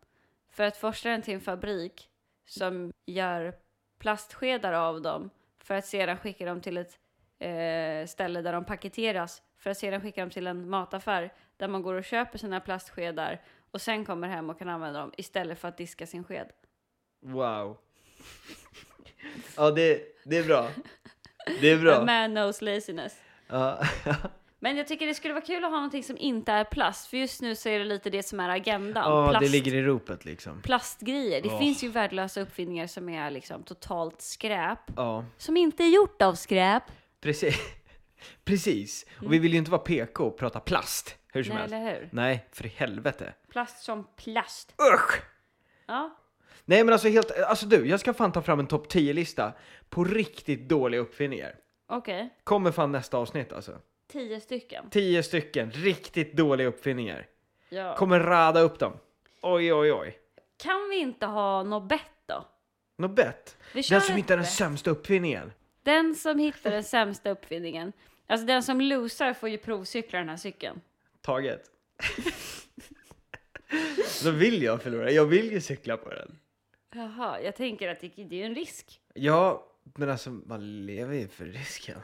Speaker 1: för att forsla den till en fabrik som gör plastskedar av dem för att sedan skicka dem till ett eh, ställe där de paketeras för att sedan skicka dem till en mataffär där man går och köper sina plastskedar och sen kommer hem och kan använda dem istället för att diska sin sked.
Speaker 2: Wow. ja, det, det är bra. Det är
Speaker 1: A
Speaker 2: bra.
Speaker 1: man knows laziness.
Speaker 2: Ja.
Speaker 1: Men jag tycker det skulle vara kul att ha någonting som inte är plast för just nu så är det lite det som är agendan.
Speaker 2: Ja, det
Speaker 1: plast,
Speaker 2: ligger i ropet liksom.
Speaker 1: Plastgrejer. Det
Speaker 2: Åh.
Speaker 1: finns ju värdelösa uppfinningar som är liksom totalt skräp.
Speaker 2: Ja,
Speaker 1: Som inte är gjort av skräp.
Speaker 2: precis. Precis. Och vi vill ju inte vara PK och prata plast hur som
Speaker 1: Mm. Nej,
Speaker 2: helst.
Speaker 1: eller hur?
Speaker 2: Nej, för i helvete.
Speaker 1: Plast som plast.
Speaker 2: Usch!
Speaker 1: Ja,
Speaker 2: Nej men alltså helt, alltså du, jag ska fan ta fram en topp 10-lista på riktigt dåliga uppfinningar.
Speaker 1: okej.
Speaker 2: Kommer fan nästa avsnitt alltså.
Speaker 1: Tio stycken.
Speaker 2: 10 stycken riktigt dåliga uppfinningar.
Speaker 1: Ja.
Speaker 2: Kommer rada upp dem. Oj, oj, oj.
Speaker 1: Kan vi inte ha något bett då?
Speaker 2: Något bett?
Speaker 1: Vi kör
Speaker 2: Den som
Speaker 1: ett
Speaker 2: hittar den
Speaker 1: bett.
Speaker 2: sämsta uppfinningen.
Speaker 1: Den som hittar den sämsta uppfinningen. Alltså den som losar får ju provcykla den här cykeln.
Speaker 2: Taget. Då vill jag förlora. Jag vill ju cykla på den.
Speaker 1: Jaha, jag tänker att det, det är ju en risk.
Speaker 2: Ja, men alltså man lever ju för risken.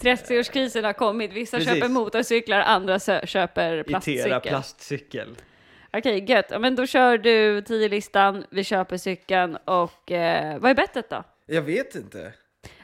Speaker 1: 30-årskrisen har kommit. Vissa
Speaker 2: Precis.
Speaker 1: köper motorcyklar, andra sö- köper
Speaker 2: Itera
Speaker 1: plastcykel.
Speaker 2: plastcykel.
Speaker 1: Okej, gött. Ja, Men då kör du 10-listan, vi köper cykeln och eh, vad är bettet då?
Speaker 2: Jag vet inte.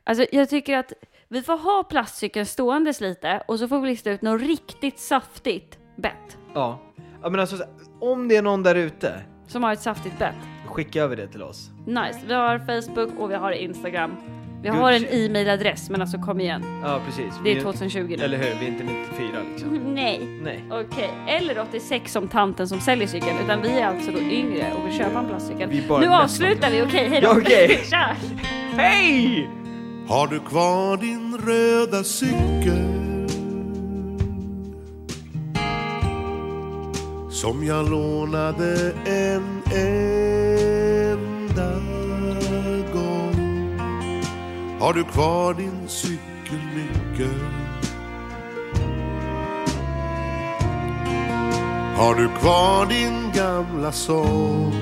Speaker 1: Alltså jag tycker att vi får ha plastcykeln ståendes lite och så får vi lista ut något riktigt saftigt bett.
Speaker 2: Ja. ja men alltså, så- om det är någon där ute,
Speaker 1: Som har ett saftigt bett.
Speaker 2: skicka över det till oss.
Speaker 1: Nice. Vi har Facebook och vi har Instagram. Vi
Speaker 2: Good
Speaker 1: har en
Speaker 2: shit.
Speaker 1: e-mailadress men alltså kom igen.
Speaker 2: Ja, precis.
Speaker 1: Det
Speaker 2: Vi-
Speaker 1: är 2020 nu.
Speaker 2: Eller hur, vi är inte 94 liksom.
Speaker 1: Nej.
Speaker 2: Nej.
Speaker 1: Okej, eller 86 som tanten som säljer cykeln. Utan vi är alltså då yngre och vill köpa en plastcykel.
Speaker 2: Vi är bara
Speaker 1: Nu
Speaker 2: nästan-
Speaker 1: avslutar vi, okej hejdå!
Speaker 2: Ja, okej.
Speaker 1: Tja!
Speaker 2: Hej!
Speaker 4: Har du kvar din röda cykel? Som jag lånade en enda gång. Har du kvar din cykelnyckel? Har du kvar din gamla sång?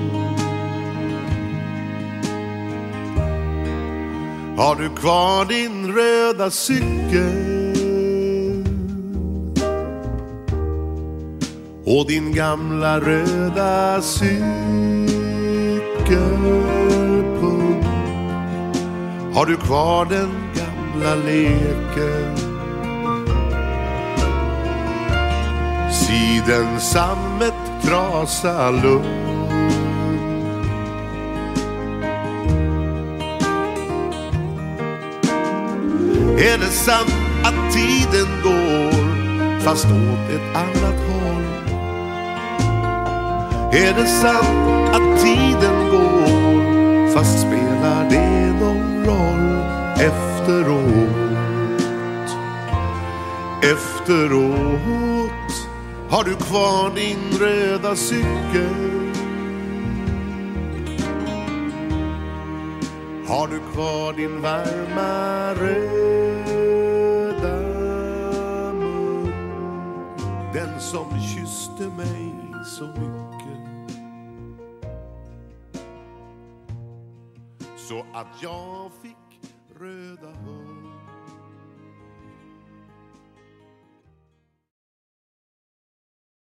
Speaker 4: Har du kvar din röda cykel? Och din gamla röda cykelpung? Har du kvar den gamla leken? Siden sammet trasa lugn Är det sant att tiden går fast åt ett annat håll? Är det sant att tiden går fast spelar det någon roll efteråt? Efteråt har du kvar din röda cykel Har du kvar din varma röda mun? Den som kysste mig så mycket Så att jag fick röda hår